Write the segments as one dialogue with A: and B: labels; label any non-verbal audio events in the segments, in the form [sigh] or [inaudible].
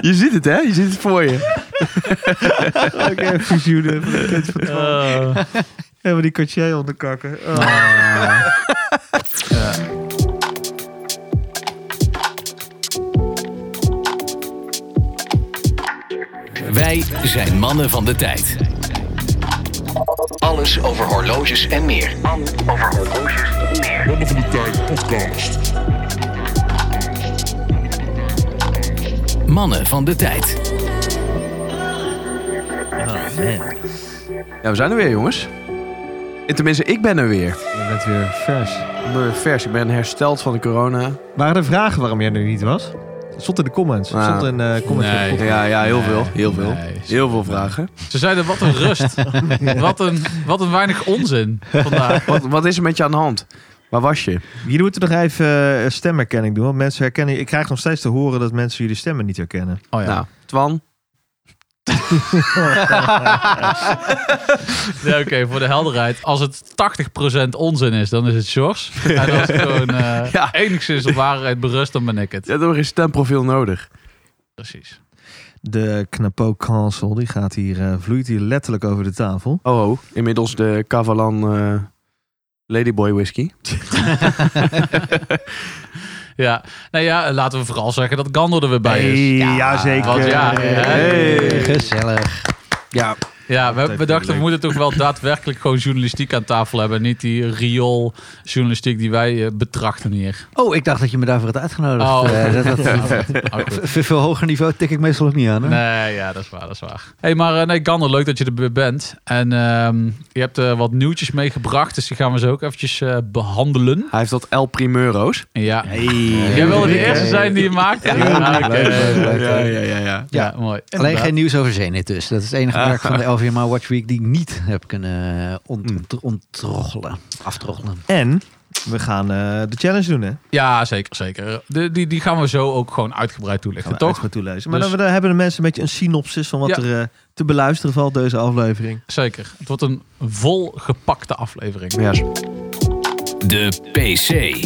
A: Je ziet het, hè? Je ziet het voor je.
B: [laughs] Oké, fusioenen. van de kids van 12. Hebben die Cartier onderkakken. Oh.
C: Wij zijn mannen van de tijd. Alles over horloges en meer. Mannen van de tijd.
A: Ja, we zijn er weer, jongens. En tenminste, ik ben er weer.
B: Je bent weer vers.
A: Ik ben vers. Ik ben hersteld van de corona.
B: Waren er vragen waarom jij er niet was? Het Stond in de comments. Het
A: Nou.
B: Stond in eh comments.
D: Nee.
B: van de
A: Ja, ja heel veel. Heel veel.
D: nee.
A: Heel veel vragen.
D: Ze zeiden wat een rust. wat, een, wat een weinig onzin vandaag.
A: Wat, wat is er met je aan de hand? Waar was je?
B: podcast. Jullie moeten nog even eh, stemherkenning doen. Want mensen herkennen... Ik krijg nog steeds te horen dat mensen jullie stemmen niet herkennen.
D: Oh ja.
A: Nou, Twan.
D: Nee, Oké, voor de helderheid. Als het 80% onzin is, dan is het Sjors. En als het gewoon eh,
A: Ja.
D: enigszins op waarheid berust, dan ben ik het.
A: Je hebt nog geen stemprofiel nodig.
D: Precies.
B: De knapo Kansel, die gaat hier, eh, vloeit hier letterlijk over de tafel.
A: Oh, oh. Inmiddels de Cavalan eh, Ladyboy Whisky.
D: Ja. Nou ja, laten we vooral zeggen dat Gandor er weer bij is.
B: ja, zeker.
D: Want ja,
A: hey.
B: Gezellig.
A: Ja,
D: Ja, we, we dachten we moeten toch wel daadwerkelijk gewoon journalistiek aan tafel hebben. Niet die riool journalistiek die wij eh, betrachten hier.
E: Oh, ik dacht dat je me daarvoor had uitgenodigd.
D: Oh.
E: Eh, dat, dat,
D: Oh, goed.
E: v- veel hoger niveau tik ik meestal ook niet aan. Hè?
D: Nee, ja, dat is waar, dat is waar. hey, maar eh, nee, Gander, leuk dat je er weer bent. En ehm, je hebt eh, wat nieuwtjes meegebracht, dus die gaan we zo ook eventjes eh, behandelen.
A: hij heeft dat El Primero's.
D: Ja. Jij wilde de eerste zijn die je maakt? Ja, oké.
A: ja, ja, ja, ja.
D: Ja, mooi.
E: Alleen
D: Inderdaad.
E: geen nieuws over Zenit dus. Dat is het enige werk van de LVMA Watch Week die ik niet heb kunnen eh, ont, ont- ontroggelen. Aftroggelen.
B: En we gaan eh, de challenge doen, hè?
D: Ja, zeker, zeker. De, die, die gaan we zo ook gewoon uitgebreid toelichten,
B: Gaan we
D: toch?
B: uitgebreid toelezen. Maar
D: Dus-
B: dan, dan hebben de mensen een beetje een synopsis van wat
D: Ja.
B: er eh, te beluisteren valt deze aflevering.
D: Zeker. Het wordt een volgepakte aflevering.
C: De PC.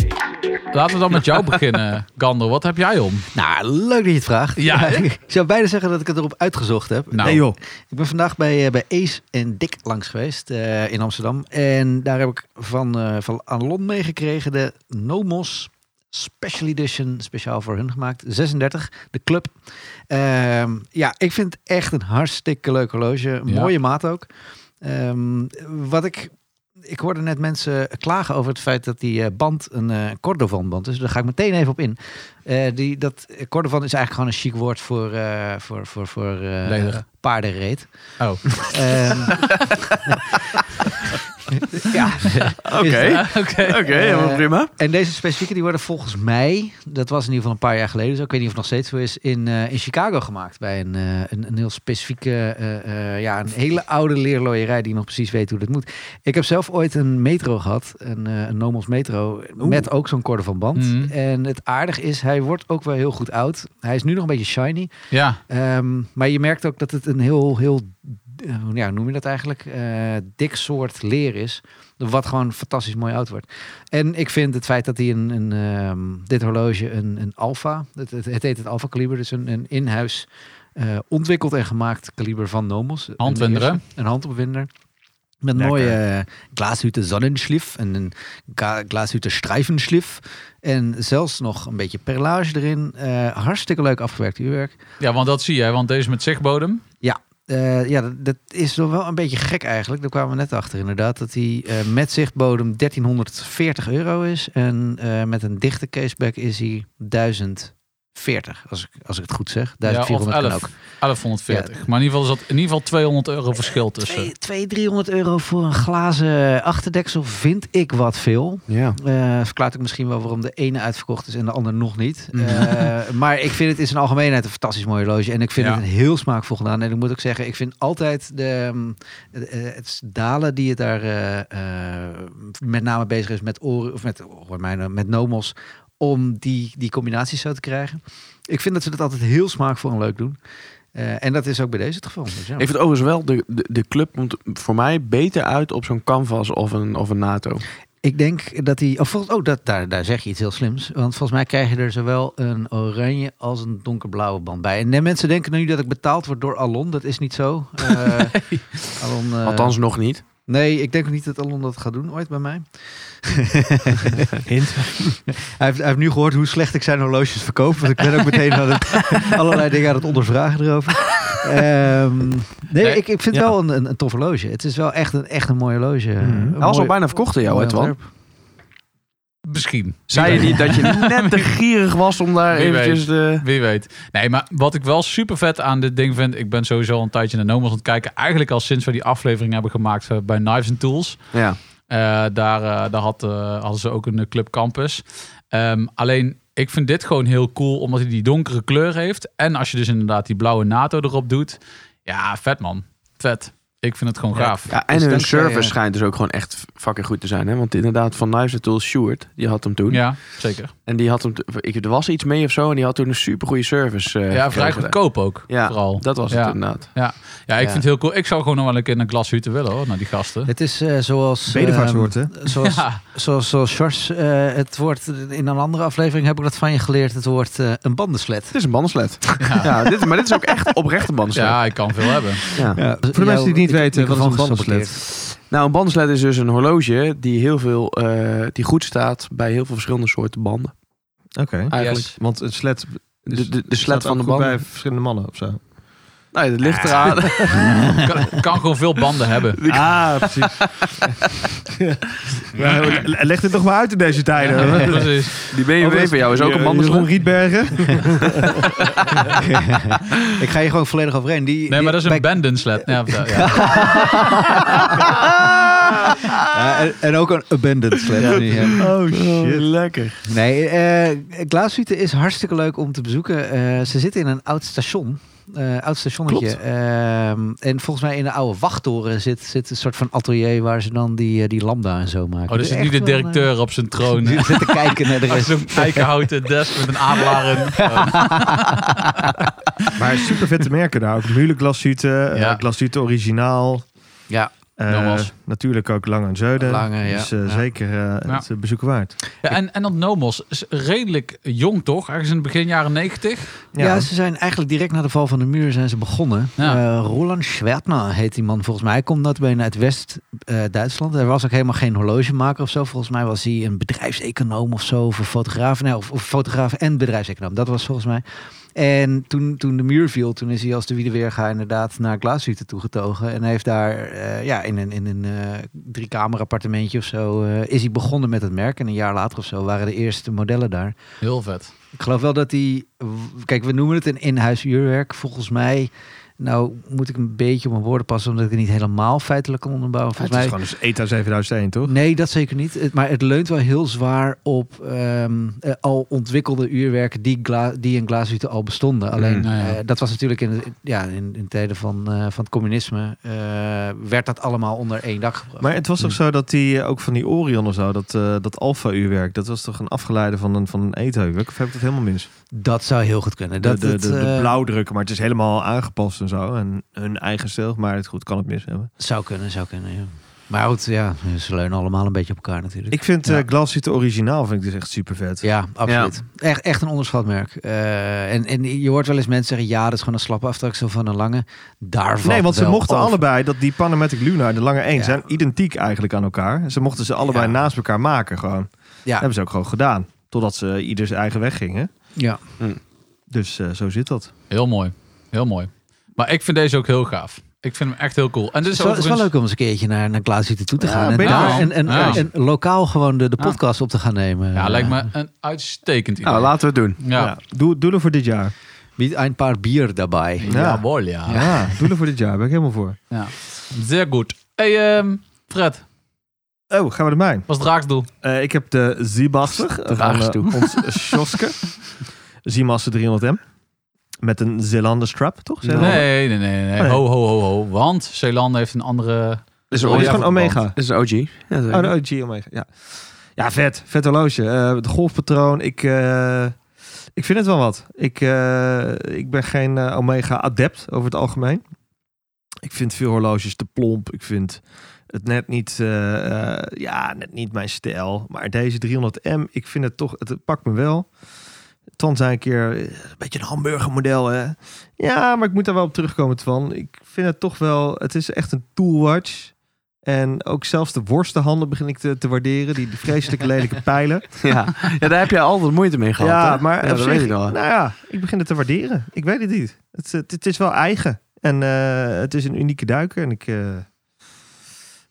D: Laten we dan met jou beginnen, Gander. Wat heb jij om?
E: Nou, leuk dat je het vraagt. [laughs]
D: Ja, hè?
E: ik zou bijna zeggen dat ik het erop uitgezocht heb.
D: Nou.
E: Nee joh. Ik ben vandaag bij, eh, bij Ace en Dick langs geweest eh, in Amsterdam. En daar heb ik van, eh van Anlon meegekregen de Nomos Special Edition, speciaal voor hun gemaakt. 36, de club. Ehm, ja, ik vind het echt een hartstikke leuk horloge. Een
D: Ja.
E: Mooie maat ook. Ehm, wat ik... Ik hoorde net mensen klagen over het feit dat die eh, band een eh Cordovan-band is. Daar ga ik meteen even op in. Eh, die, dat eh, Cordovan is eigenlijk gewoon een chic woord voor, eh voor, voor, voor eh,
D: Leder.
E: paardenreet.
D: Oh,
E: Ehm, [laughs] ja.
A: Oké,
D: oké.
A: oké, helemaal
E: Eh,
A: prima.
E: En deze specifieke die worden volgens mij, dat was in ieder geval een paar jaar geleden, zo, ik weet niet of het nog steeds zo is, in, eh, in Chicago gemaakt. Bij een, eh, een, een heel specifieke, eh, eh, ja, een hele oude leerlooierij die nog precies weet hoe dat moet. Ik heb zelf ooit een metro gehad, een, eh, een Nomos metro, met ook zo'n korte van band.
D: Mhm.
E: En het aardig is, hij wordt ook wel heel goed oud. Hij is nu nog een beetje shiny.
D: Ja,
E: Ehm, maar je merkt ook dat het een heel, heel eh, ja, hoe noem je dat eigenlijk? Eh, dik soort leer is. Wat gewoon fantastisch mooi oud wordt. En ik vind het feit dat hij een, een, ehm, dit horloge een, een alfa, het, het, het heet het alfa kaliber, dus een, een in-huis eh, ontwikkeld en gemaakt kaliber van Nomos. Een
D: Handwinder, hè?
E: eerste, Een handopwinder. Met
B: Lekker.
E: mooie eh, glaashüte Sonnenschliff en een ga- glaashüte Streifenschliff. En zelfs nog een beetje perlage erin. Eh, hartstikke leuk afgewerkt uurwerk.
D: ja, want dat zie jij. Want deze met zichtbodem.
E: Eh, ja, dat, dat is nog wel een beetje gek eigenlijk. Daar kwamen we net achter inderdaad. Dat die eh, met zichtbodem 1340 euro is. En eh, met een dichte caseback is hij 1040. Als ik, als ik het goed zeg.
D: Ja, of
E: 1400 kan
D: 11.
E: ook.
D: 1140. Maar in ieder geval is dat in ieder geval 200 euro verschil tussen.
E: Twee- 200, 300 euro voor een glazen achterdeksel vind ik wat veel.
A: Ja.
E: Eh, verklaart ook misschien wel waarom de ene uitverkocht is en de ander nog niet.
A: Mm.
E: Eh, maar ik vind het in zijn algemeenheid een fantastisch mooi horloge. En ik vind
D: Ja.
E: het heel smaakvol gedaan. En ik moet ook zeggen, ik vind altijd de, ehm, eh, eh, het dalen die het daar eh, eh, met name bezig is met oren, of met, hoor mij nou, met nomos, om die, die combinaties zo te krijgen. Ik vind dat ze dat altijd heel smaakvol en leuk doen. Eh, en dat is ook bij deze het geval. Dus ja.
A: Ik vind overigens wel, de, de, de club komt voor mij beter uit op zo'n canvas of een, of een NATO.
E: Ik denk dat hij. Oh, volgens, oh dat, daar, daar zeg je iets heel slims. Want volgens mij krijg je er zowel een oranje als een donkerblauwe band bij. En de mensen denken nu dat ik betaald word door Alon. Dat is niet zo. Eh, Alon, eh,
A: Althans nog niet.
E: Nee, ik denk ook niet dat Alon dat gaat doen ooit bij mij.
B: Hint.
E: [laughs] Hij heeft, hij heeft nu gehoord hoe slecht ik zijn horloges verkoop. Want ik ben ook meteen aan het, allerlei dingen aan het ondervragen erover. Ehm, nee,
D: Nee,
E: ik, ik vind
D: ja.
E: wel een, een, een tof horloge. Het is wel echt een, echt een mooi horloge. Een
A: Hij was al
E: mooi-
A: bijna verkocht aan jou,
E: mooi
A: hè, Twan?
E: ontwerp.
D: Misschien.
A: Zei je
D: Wie
A: niet dat [laughs] je net te gierig was om daar
D: Wie
A: eventjes de...
D: Wie weet. Nee, maar wat ik wel super vet aan dit ding vind. Ik ben sowieso al een tijdje naar Nomos aan het kijken. Eigenlijk al sinds we die aflevering hebben gemaakt eh, bij Knives and Tools.
A: Ja.
D: Eh, daar eh, daar had, eh, hadden ze ook een eh, Club Campus. Ehm, alleen, ik vind dit gewoon heel cool, omdat hij die donkere kleur heeft. En als je dus inderdaad die blauwe NATO erop doet. Ja, vet man. Vet. Ik vind het gewoon
E: Ja,
D: gaaf.
A: ja en
E: Dus
A: hun
E: dankzij,
A: service
E: eh,
A: schijnt dus ook gewoon echt fucking goed te zijn. Hè? Want inderdaad, van Knives and Tools, Sjoerd, die had hem toen.
D: Ja, zeker.
A: En die had hem... t- Ik, er was iets mee of zo en die had toen een supergoeie service eh,
D: ja, vrij
A: gekregen.
D: goedkoop ook.
A: Ja,
D: vooral.
A: dat was het
D: Ja.
A: inderdaad.
D: Ja, ik
E: Ja.
D: vind het heel cool. Ik zou gewoon nog wel een keer een glas huur te willen hoor, naar die gasten.
E: Het is eh, zoals...
B: Bedevaarts
E: ehm,
B: wordt, hè?
E: Zoals,
D: Ja.
E: zoals, zoals Charles eh, het woord... In een andere aflevering heb ik dat van je geleerd. Het woord eh, een bandenslet.
A: Het is een bandenslet. Ja. dit, maar dit is ook echt oprecht een bandenslet.
D: Ja, ik kan veel hebben.
A: Ja.
B: Voor de mensen die het niet weten, wat is een bandenslet?
A: Nou, een bandenslet is dus een horloge die heel veel, eh, die goed staat bij heel veel verschillende soorten banden.
B: Oké. Dus
A: Eigenlijk.
D: Yes.
B: Want een slet...
A: De- de- de slet van de
B: band.
A: banden.
B: bij verschillende mannen of zo.
A: Nou, dat ligt eraan.
D: kan, kan gewoon veel banden hebben.
B: [laughs] Ah, precies. Ja, le- leg dit nog maar uit in deze tijden.
D: Ja,
B: Wat-
D: precies.
A: Die BMW van jou is ook een
B: Jeroen
A: bandenslet.
B: Rietbergen.
E: ik ga je gewoon volledig overheen. Die,
D: Nee,
E: die-
D: maar dat is
E: bij-
D: een bandenslet. Ja, ja, ja.
E: Ja, eh, en, en ook een abandoned sled. nu, Ah. ja.
B: Oh, shit.
A: lekker.
E: Nee, eh Glaaswieten is hartstikke leuk om te bezoeken. Eh, ze zitten in een oud station. Eh, oud stationnetje. Ehm, en volgens mij in de oude wachttoren zit, zit een soort van atelier waar ze dan die, eh, die lambda en zo maken.
D: Oh, er
E: Dus
D: zit nu
E: echt
D: de
E: wel, eh,
D: directeur op zijn troon.
E: [laughs] die zit te kijken naar de
D: [laughs] Als
E: rest.
D: zo'n eikenhouten desk met een adelaar in.
B: Maar super vet te merken daar ook. Muurlijk glasuiten,
D: Ja.
B: eh glasuiten originaal.
E: Ja,
B: Eh,
D: Nogmaals.
B: natuurlijk ook lang aan Zuiden.
E: Lange, ja.
B: Dus eh,
E: Ja.
B: zeker eh, het eh, bezoeken waard.
D: Ja, en, en dat Nomos is redelijk jong, toch? Ergens in het begin jaren negentig.
E: ja. ze zijn eigenlijk direct na de val van de muur zijn ze begonnen.
D: Ja.
E: Eh, Roland Schwertner heet die man volgens mij. Hij komt notabene uit West-Duitsland. eh, Hij was ook helemaal geen horlogemaker of zo. Volgens mij was hij een bedrijfseconoom of zo. Of een fotograaf. Nee, of, of fotograaf en bedrijfseconoom. Dat was volgens mij. En toen, toen de muur viel, toen is hij als de Wiedeweerga inderdaad naar Glaashutte toegetogen. En hij heeft daar eh, ja, in een, in een eh driekamer appartementje of zo eh, is hij begonnen met het merk. En een jaar later of zo waren de eerste modellen daar.
D: Heel vet.
E: Ik geloof wel dat die. w- Kijk, we noemen het een in-huis uurwerk. Volgens mij. Nou, moet ik een beetje op mijn woorden passen, omdat ik het niet helemaal feitelijk kan onderbouwen.
B: Het
E: Volgens
B: is
E: mij.
B: gewoon dus ETA 7001, toch?
E: Nee, dat zeker niet. Het- maar het leunt wel heel zwaar op ehm, eh, al ontwikkelde uurwerken die, gla- die in glaashutten al bestonden. Alleen
B: Hmm,
D: nou ja.
E: eh, dat was natuurlijk in, de- ja, in, in tijden van, eh, van het communisme. eh, werd dat allemaal onder één dak gebracht.
B: Maar het was toch zo dat die eh, ook van die Orion of zo, dat, eh, dat Alpha-uurwerk, dat was toch een afgeleide van een, van een ETA-uurwerk? Of heb ik dat helemaal mis?
E: dat zou heel goed kunnen.
B: De,
E: Dat,
B: de, de,
E: het,
B: de
E: eh,
B: blauwdrukken, maar het is helemaal aangepast en zo. En hun eigen stijl, maar het goed kan het mis hebben.
E: zou kunnen, zou kunnen. Ja. Maar goed, ja, ze leunen allemaal een beetje op elkaar natuurlijk.
B: Ik vind
E: Ja.
B: eh Glashütte originaal, vind ik dus echt super vet.
E: Ja, absoluut. Echt, echt een onderschat merk. Eh, en, en je hoort wel eens mensen zeggen, ja, dat is gewoon een slappe aftreksel van een lange. Daarvan
B: Nee, want ze
E: wel
B: mochten
E: af.
B: allebei dat die Panamatic Luna en de lange 1
E: Ja.
B: zijn identiek eigenlijk aan elkaar. Ze mochten ze allebei
E: Ja.
B: naast elkaar maken gewoon.
E: Ja,
B: hebben ze ook gewoon gedaan. Totdat ze ieder zijn eigen weg gingen.
E: ja.
B: Dus eh, zo zit dat.
D: Heel mooi. Heel mooi. Maar ik vind deze ook heel gaaf. Ik vind hem echt heel cool. En dit
E: Het
D: is,
E: is wel, het is wel
D: Dus overigens-
E: leuk om eens een keertje naar, naar Klaashutte toe te
B: Ja,
E: gaan. en,
B: ben je
E: daar,
D: wel.
E: en, en,
D: Ja.
E: en lokaal gewoon de, de
D: Ja.
E: podcast op te gaan nemen.
D: Ja, lijkt me een uitstekend idee.
A: Nou, laten we het doen.
D: ja.
B: Ja, doe, doelen voor dit jaar.
E: Met een paar bier daarbij.
B: Ja.
D: Jawohl, ja. ja.
B: Ja, doelen voor dit jaar. Ben ik helemaal voor.
D: Zeer goed. Hey, ehm, Fred,
B: Oh, gaan we naar mij.
D: wat is het raakdoel?
B: Eh, ik heb de Zibaster.
A: aardig
B: van
A: toe.
B: eh, ons Sjoske. Zimaster 300M. Met een Zelander strap, toch?
A: Nee.
B: Zeelander?
D: Nee, nee, nee, nee.
B: Oh, nee.
D: Ho, ho, ho, ho. Want Zeeland heeft een andere...
A: Dit is
B: Oh,
A: een
B: dit is
A: OG.
B: gewoon Omega.
A: Dit is een OG. Ja, dat weet
B: Oh,
A: ik.
B: de OG Omega. Ja, ja vet. Vet horloge. Eh, het golfpatroon. Ik, eh, ik vind het wel wat. Ik, eh, ik ben geen eh, Omega adept over het algemeen. Ik vind veel horloges te plomp. Ik vind het net niet, eh, eh, ja, net niet mijn stijl. Maar deze 300M, ik vind het toch, het pakt me wel. Twan zei een keer, eh, een beetje een hamburgermodel hè. Ja, maar ik moet daar wel op terugkomen Twan. Ik vind het toch wel, het is echt een toolwatch. En ook zelfs de worstenhanden begin ik te, te waarderen. Die
A: [laughs]
B: vreselijke lelijke pijlen.
A: Ja. ja, daar heb jij altijd moeite mee gehad.
B: ja,
A: hè?
B: maar
A: ja,
B: op
A: dat
B: zich,
A: weet ik wel.
B: Nou ja, ik begin het te waarderen. Ik weet het niet. Het, het, het is wel eigen. En eh, het is een unieke duiker. En ik, eh,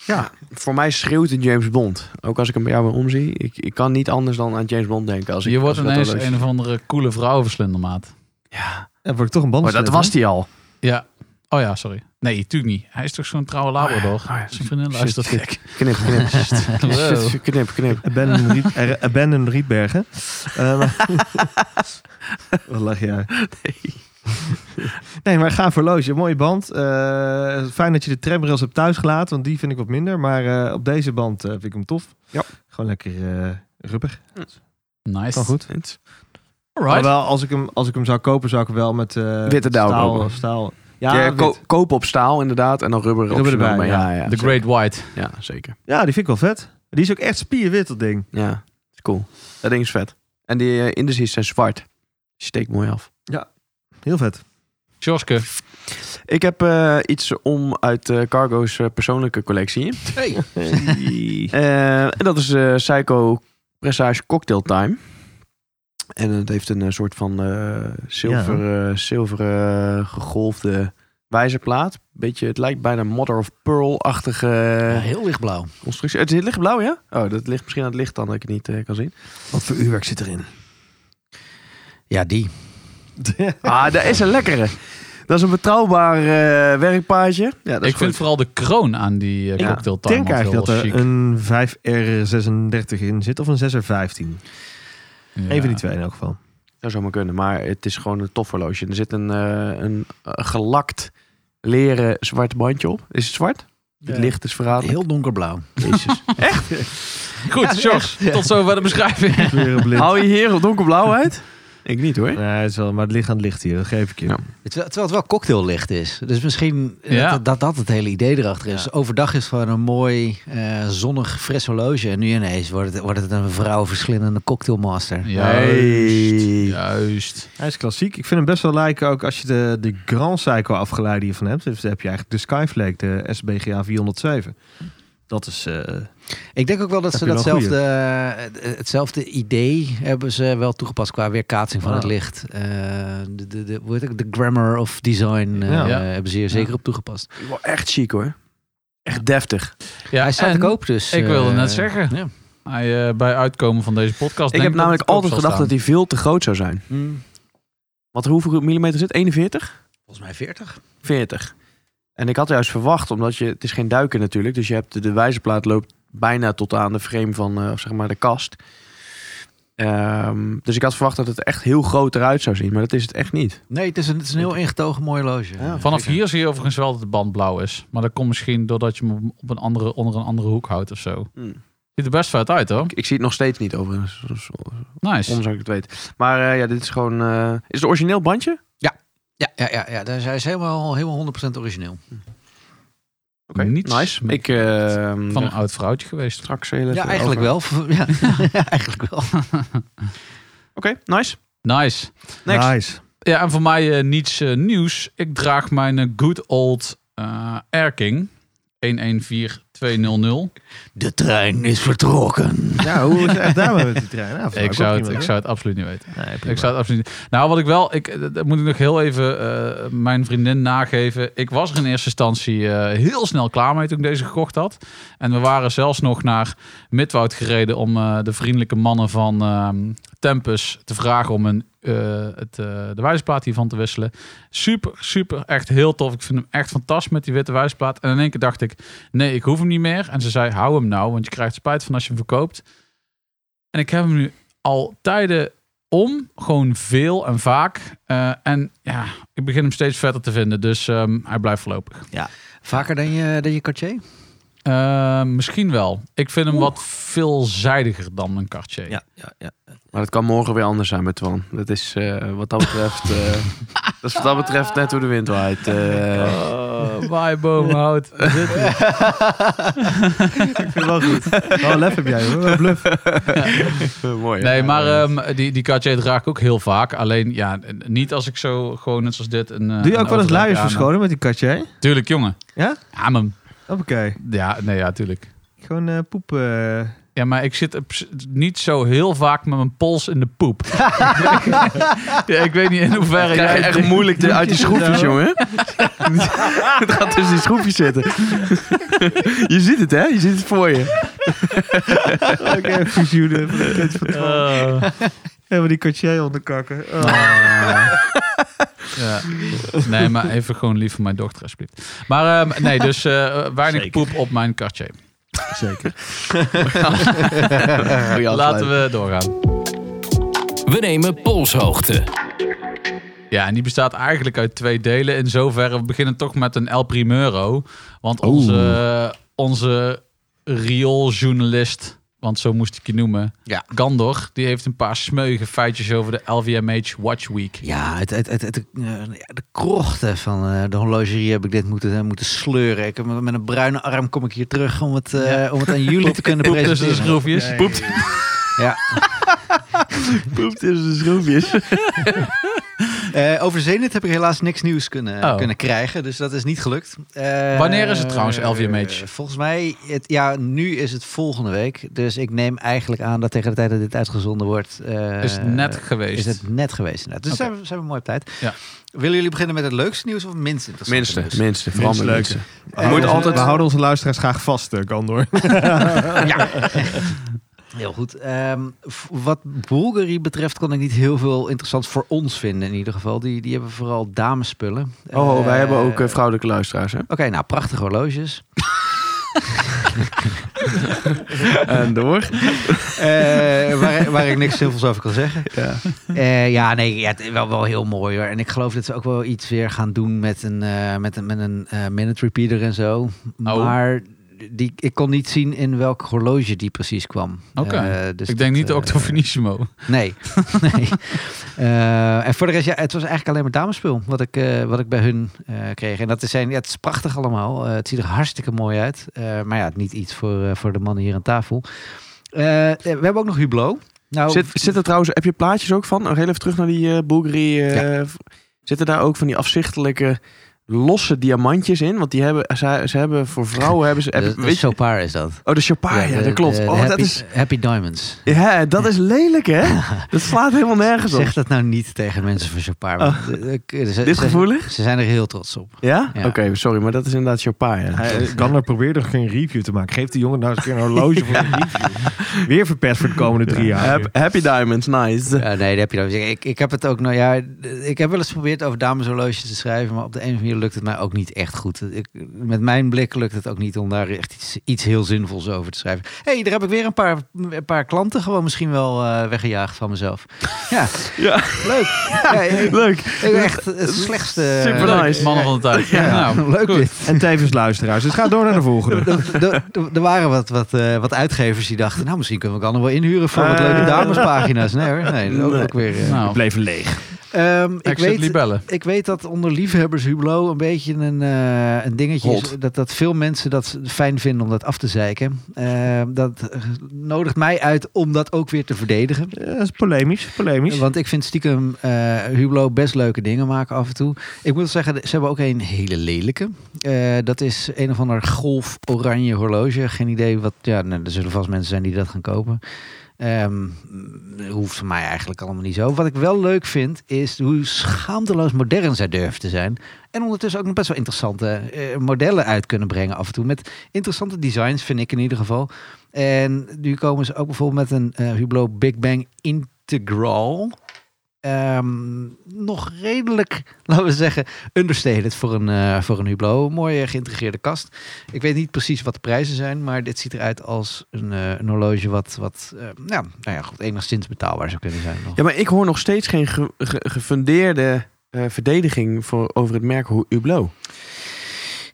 B: ja,
A: Voor mij schreeuwt het James Bond. Ook als ik hem bij jou weer omzie. Ik, ik kan niet anders dan aan James Bond denken. Als ik,
D: Je wordt
A: als ik dat
D: ineens
A: horloge-
D: een of andere coole vrouwenverslindermaat.
A: Ja,
B: en wordt toch een band.
A: maar Oh, dat was die al.
D: Ja. Oh ja, sorry. Nee, tuurlijk niet. Hij is toch zo'n trouwe labrador?
A: Oh ja.
D: Zijn vriendin luistert
A: Shit.
D: gek.
A: Knip, knip. Shit, knip, knip.
B: Abandon, Riet, er-
A: [laughs]
B: Abandon Rietbergen. Eh, wat lag jij? Nee. nee, maar ga voor horloge. Mooie band. Eh, fijn dat je de tramrails hebt thuisgelaten, want die vind ik wat minder. Maar eh, op deze band eh, vind ik hem tof.
A: Ja.
B: Gewoon lekker eh rubber. Kan
D: Nice.
B: goed.
D: Alright.
B: Alhoewel, als ik, hem, als ik hem zou kopen, zou ik hem wel met eh,
A: Witte dauw
B: staal,
A: kopen.
B: staal.
A: Ja,
B: Ja, wit.
A: ko- koop op staal inderdaad. En dan rubber,
B: Rubber
A: optioneel
B: erbij,
A: mee. Ja, ja,
D: The
A: zeker.
D: Great White.
A: Ja, zeker.
B: ja, die vind ik wel vet. Die is ook echt spierwit, dat ding.
A: Ja, is cool. Dat ding is vet. En die eh, indices zijn zwart. Steekt mooi af.
B: Heel vet.
D: Joske.
A: Ik heb eh, iets om uit eh, Cargo's eh, persoonlijke collectie. [laughs] Eh, en dat is eh Psycho Pressage Cocktail Time. En het heeft een eh, soort van eh zilveren, zilveren gegolfde wijzerplaat. Beetje, het lijkt bijna Mother of Pearl-achtige
E: Eh, heel lichtblauw.
A: constructie. Het is lichtblauw, ja? Oh, dat ligt misschien aan het licht dan dat ik het niet eh, kan zien.
B: Wat voor uurwerk zit erin?
E: Ja, die.
A: Ah, dat is een lekkere. Dat is een betrouwbaar eh werkpaardje. Ja, dat is
D: Ik vind
A: goed.
D: vooral de kroon aan die
A: Ja,
D: eh cocktail
B: Ik denk
D: time
B: eigenlijk
D: altijd
B: dat
A: eh,
D: heel
B: er
D: chic.
B: een 5R36 in zit of een 6R15.
D: Ja.
B: Even die twee in elk geval.
A: Dat zou maar kunnen, maar het is gewoon een tof horloge. Er zit een, eh, een eh, gelakt leren zwart bandje op. Is het zwart? Het
D: Ja.
A: licht is verraden.
E: Heel donkerblauw.
A: Jezus.
D: Goed, Jos. Tot zover de
A: [laughs]
D: beschrijving.
B: Kleurenblind.
A: Hou je hier op donkerblauw uit? Ik niet hoor.
B: Nee, het is wel, maar het ligt aan het licht hier, dat geef ik je.
A: Ja.
E: Het- Terwijl het wel cocktaillicht is. Dus misschien
D: Ja.
E: dat, dat dat het hele idee erachter is. Overdag is het gewoon een mooi eh, zonnig fris horloge. En nu ineens wordt het, wordt het een vrouwverslindende cocktailmaster.
D: Juist. Juist.
B: Hij is klassiek. Ik vind hem best wel lijken ook als je de, de Grand Cycle afgeleide hiervan hebt. Dus dan heb je eigenlijk de Skyflake, de SBGA 407. Dat is... eh,
E: Ik denk ook wel dat
B: Heb
E: ze
B: je wel
E: datzelfde, eh, hetzelfde idee hebben ze wel toegepast qua weerkaatsing van
B: Ah.
E: het licht. Eh, de, de, de, hoe heet het? de grammar of design eh,
B: Ja.
D: Ja.
E: hebben ze hier zeker op toegepast.
A: Wel echt chic hoor. Echt deftig.
D: Ja,
E: Hij staat
D: en
E: te koop dus.
D: ik wilde
E: eh,
D: net zeggen.
E: ja.
D: hij, eh, bij uitkomen van deze podcast.
A: ik
D: denk
A: heb
D: dat
A: namelijk
D: het te koop
A: altijd
D: zal
A: gedacht dat
D: staan.
A: die veel te groot zou zijn. Want hoeveel millimeter zit? 41?
E: Volgens mij 40.
A: 40. En ik had juist verwacht, omdat je, het is geen duiken natuurlijk, dus je hebt de, de wijzerplaat loopt bijna tot aan de frame van, eh, of zeg maar, de kast. Ehm, dus ik had verwacht dat het echt heel groot eruit zou zien, maar dat is het echt niet.
E: Nee, het is een, het is een heel ingetogen mooi loge.
A: Ja.
D: Vanaf hier zie je overigens wel dat de band blauw is. Maar dat komt misschien doordat je hem op een andere, onder een andere hoek houdt of zo.
A: Hmm.
D: Ziet er best vet uit hoor.
A: Ik, ik zie het nog steeds niet overigens, dus
D: Nice.
A: om zou ik het weten. Maar eh, ja, dit is gewoon, eh, is het origineel bandje?
E: Ja, ja, ja, ja. Dus hij is helemaal, helemaal 100% origineel.
A: Oké,
D: Niets
A: nice. Ik ehm,
D: Van een
A: ga
D: oud vrouwtje geweest.
A: straks heel even
E: Ja, eigenlijk
A: over-
E: wel. [laughs] Ja, eigenlijk wel.
A: Oké, nice.
D: Nice.
A: Next.
B: Nice.
D: Nou, Ja, en voor mij eh, niets eh, nieuws. Ik draag mijn eh, good old eh Erking 114200.
E: De trein is vertrokken.
B: Ja, hoe is het echt daarmee met die trein? Nou,
D: Ik
B: ook
D: zou, het,
B: prima,
D: ik zou het absoluut niet weten.
B: hoor. Nee, prima.
D: Ik zou het absoluut niet. Nou, wat ik wel, ik eh, dat moet ik nog heel even eh, mijn vriendin nageven. Ik was er in eerste instantie eh, heel snel klaar mee toen ik deze gekocht had. En we waren zelfs nog naar Midwoud gereden om eh, de vriendelijke mannen van ehm, Tempus te vragen om een, eh, het, eh, de wijzerplaat hiervan te wisselen. Super, super, echt heel tof. Ik vind hem echt fantastisch met die witte wijzerplaat. En in één keer dacht ik, nee, ik hoef hem niet meer. En ze zei, hou hem nou, want je krijgt spijt van als je hem verkoopt. En ik heb hem nu al tijden om, gewoon veel en vaak. Eh, en ja, ik begin hem steeds vetter te vinden, dus ehm, hij blijft voorlopig.
E: Vaker dan je, dan je Cartier?
D: Eh, misschien wel. Ik vind hem wat veelzijdiger dan een Cartier.
B: Ja, ja, ja.
A: Maar dat kan morgen weer anders zijn met Twan.
E: [laughs]
A: Dat is eh, wat dat betreft. eh, dat is wat dat betreft net hoe de wind waait. eh.
D: [laughs] Oh, bye boomhout. Daar zit hij.
B: Ik vind het wel goed. Wel lef heb jij [laughs] hoor. Wel Bluff.
A: Eh, Mooi.
D: Nee, maar ehm, die, die Cartier draag ik ook heel vaak. Alleen, ja, n- niet als ik zo gewoon net zoals dit... Een,
B: Doe je ook wel eens luiers verschonen met die katje?
D: Tuurlijk, jongen.
B: Ja?
D: Ja, man.
B: Hoppakee.
D: Ja, nee, ja, tuurlijk.
B: Gewoon eh, poep. eh.
D: Ja, maar ik zit op s- niet zo heel vaak met mijn pols in de
B: [laughs]
D: poep. [laughs] ja, ik weet niet in hoeverre
A: Krijg je
D: jij-
A: echt moeilijk de- uit die schroefjes,
B: Ja.
A: jongen. het gaat tussen die schroefjes zitten. je ziet het, hè? Je ziet het voor je.
B: Oké, fusioenen.
D: Oh.
B: [laughs] Helemaal die katje onderkakken. Oh.
D: Eh, [laughs] Ja. Nee, maar even gewoon lief voor mijn dochter, alsjeblieft. Maar ehm, nee, dus eh weinig
B: Zeker.
D: poep op mijn Cartier.
B: Zeker.
A: Eh,
D: Laten we doorgaan.
C: We nemen polshoogte.
D: Ja, en die bestaat eigenlijk uit twee delen. In zoverre, we beginnen toch met een El Primero. Want onze, onze riooljournalist, want zo moest ik je noemen,
E: Ja.
D: Gandor, die heeft een paar smeuïge feitjes over de LVMH Watch Week.
E: Ja, het, het, het, het, eh, ja, de krochten van eh, de horlogerie heb ik dit moeten, eh, moeten sleuren. Ik heb, met een bruine arm kom ik hier terug om het, eh, [laughs] om het aan jullie te kunnen
D: Poep tussen de
E: presenteren.
D: schroefjes.
B: Poept.
E: Ja.
A: Poep tussen de schroefjes.
E: Eh, over Zenit heb ik helaas niks nieuws kunnen,
D: Oh.
E: kunnen krijgen, dus dat is niet gelukt. Eh,
D: Wanneer is het trouwens, LVMH?
E: eh, volgens mij, het, ja, nu is het volgende week. Dus ik neem eigenlijk aan dat tegen de tijd dat dit uitgezonden wordt... eh,
D: Is net geweest.
E: Is het net geweest inderdaad. Dus
D: Oké.
E: zijn, we, zijn we mooi op tijd.
D: Ja.
E: Willen jullie beginnen met het leukste nieuws of het minst interessante
A: Minste,
E: nieuws?
A: minste. Vooral
B: Minste
A: met
B: leuke.
A: minste.
E: Eh,
A: Moet altijd-
B: Oh, We houden onze luisteraars graag vast, eh, Gandor.
E: Heel goed. Ehm, v- wat Bulgari betreft kon ik niet heel veel interessants voor ons vinden in ieder geval. Die, die hebben vooral damespullen.
A: Oh, oh, wij
E: Eh,
A: hebben ook eh, vrouwelijke luisteraars, hè?
E: Oké, nou, prachtige horloges.
A: En door.
E: Eh, waar, waar ik niks zinvols over kan zeggen.
A: Ja.
E: Eh, ja, nee, ja, het is wel, wel heel mooi hoor. En ik geloof dat ze ook wel iets weer gaan doen met een, eh, met een, met een eh, minute repeater en zo.
D: Oh.
E: Maar die, ik kon niet zien in welk horloge die precies kwam.
D: Oké.
E: Eh, dus
D: ik denk
E: dat,
D: niet de
E: eh,
D: Octofinissimo.
E: Nee. [laughs] nee. Eh, en voor de rest, ja, het was eigenlijk alleen maar damespul wat ik, eh, wat ik bij hun eh, kreeg. En dat is, zijn, ja, het is prachtig allemaal. Eh, het ziet er hartstikke mooi uit. Eh, maar ja, niet iets voor, eh, voor de mannen hier aan tafel. Eh, we hebben ook nog Hublot. Nou,
A: Zit, zit er trouwens, heb je plaatjes ook van? Nog heel even terug naar die eh Bulgari. eh, v- Zitten daar ook van die afzichtelijke losse diamantjes in? Want die hebben, ze, ze hebben voor vrouwen hebben ze.
E: de,
A: Hebben,
E: de
A: weet je,
E: Chopard is dat.
A: oh, de Chopard, ja,
E: de-
A: dat klopt.
E: de- de
A: oh, dat
E: happy,
A: is,
E: happy Diamonds.
A: ja, dat is lelijk, [laughs] hè? Dat slaat helemaal nergens op.
E: Zeg dat nou niet tegen mensen van Chopard. want de- de- ze-
A: Oh. Dit
E: ze-
A: gevoelig?
E: Ze zijn er heel trots op.
A: Ja?
E: Ja.
A: Oké, sorry, maar dat is inderdaad Chopard.
B: [laughs]
A: Ja.
B: eh, Gandor probeert er geen review te maken. Geef die jongen nou eens een keer een horloge voor een review. Weer verpest voor de komende drie jaar.
A: Hap- Happy Diamonds, [laughs] nice.
E: Ja, nee, dat heb je dan. Ik, ik heb het ook, nou ja, ik heb wel eens geprobeerd over dameshorloges te schrijven, maar op de een of andere manier lukt het mij ook niet echt goed. Ik, met mijn blik lukt het ook niet om daar echt iets, iets heel zinvols over te schrijven. Hé, hey, daar heb ik weer een paar, een paar klanten gewoon misschien wel eh, weggejaagd van mezelf. Ja,
A: Ja,
E: leuk. Ja, ik,
A: [laughs] leuk.
E: ik ben echt het slechtste.
A: Super
D: Leuk,
A: nice.
D: Mannen van de tijd.
E: Ja,
D: nou,
E: leuk
D: goed.
E: dit.
B: En tevens luisteraars. Dus ga door naar de volgende.
E: Er- Er er- er waren wat, wat, eh, wat uitgevers die dachten, nou misschien kunnen we Gannon wel inhuren voor wat
A: Eh.
E: leuke damespagina's. Nee hoor, nee, dat ook,
A: Nee.
E: ook weer... eh.
D: Nou,
B: Bleef leeg.
E: Ehm, ik
D: Exit
E: weet,
D: libellen.
E: Ik weet dat onder liefhebbers Hublot een beetje een, eh, een dingetje is.
A: Hot.
E: Dat, dat veel mensen dat fijn vinden om dat af te zeiken. Eh, dat eh, nodigt mij uit om dat ook weer te verdedigen.
B: Eh, Dat is polemisch. Polemisch.
E: Want ik vind stiekem eh Hublot best leuke dingen maken af en toe. Ik moet zeggen, ze hebben ook een hele lelijke. Eh, dat is een of ander golf-oranje horloge. Geen idee wat... Ja, nou, er zullen vast mensen zijn die dat gaan kopen. Ehm, dat hoeft voor mij eigenlijk allemaal niet zo. Wat ik wel leuk vind, is hoe schaamteloos modern zij durven te zijn. En ondertussen ook nog best wel interessante eh, modellen uit kunnen brengen af en toe. Met interessante designs, vind ik in ieder geval. En nu komen ze ook bijvoorbeeld met een eh, Hublot Big Bang Integral. Ehm, nog redelijk, [laughs] laten we zeggen, understated voor een, eh, voor een Hublot. Mooie geïntegreerde kast. Ik weet niet precies wat de prijzen zijn, maar dit ziet eruit als een, eh, een horloge wat, wat eh, ja, nou ja, goed, enigszins betaalbaar zou kunnen zijn. Nog.
A: Ja, maar ik hoor nog steeds geen ge- ge- gefundeerde eh, verdediging voor, over het merk Hu- Hublot.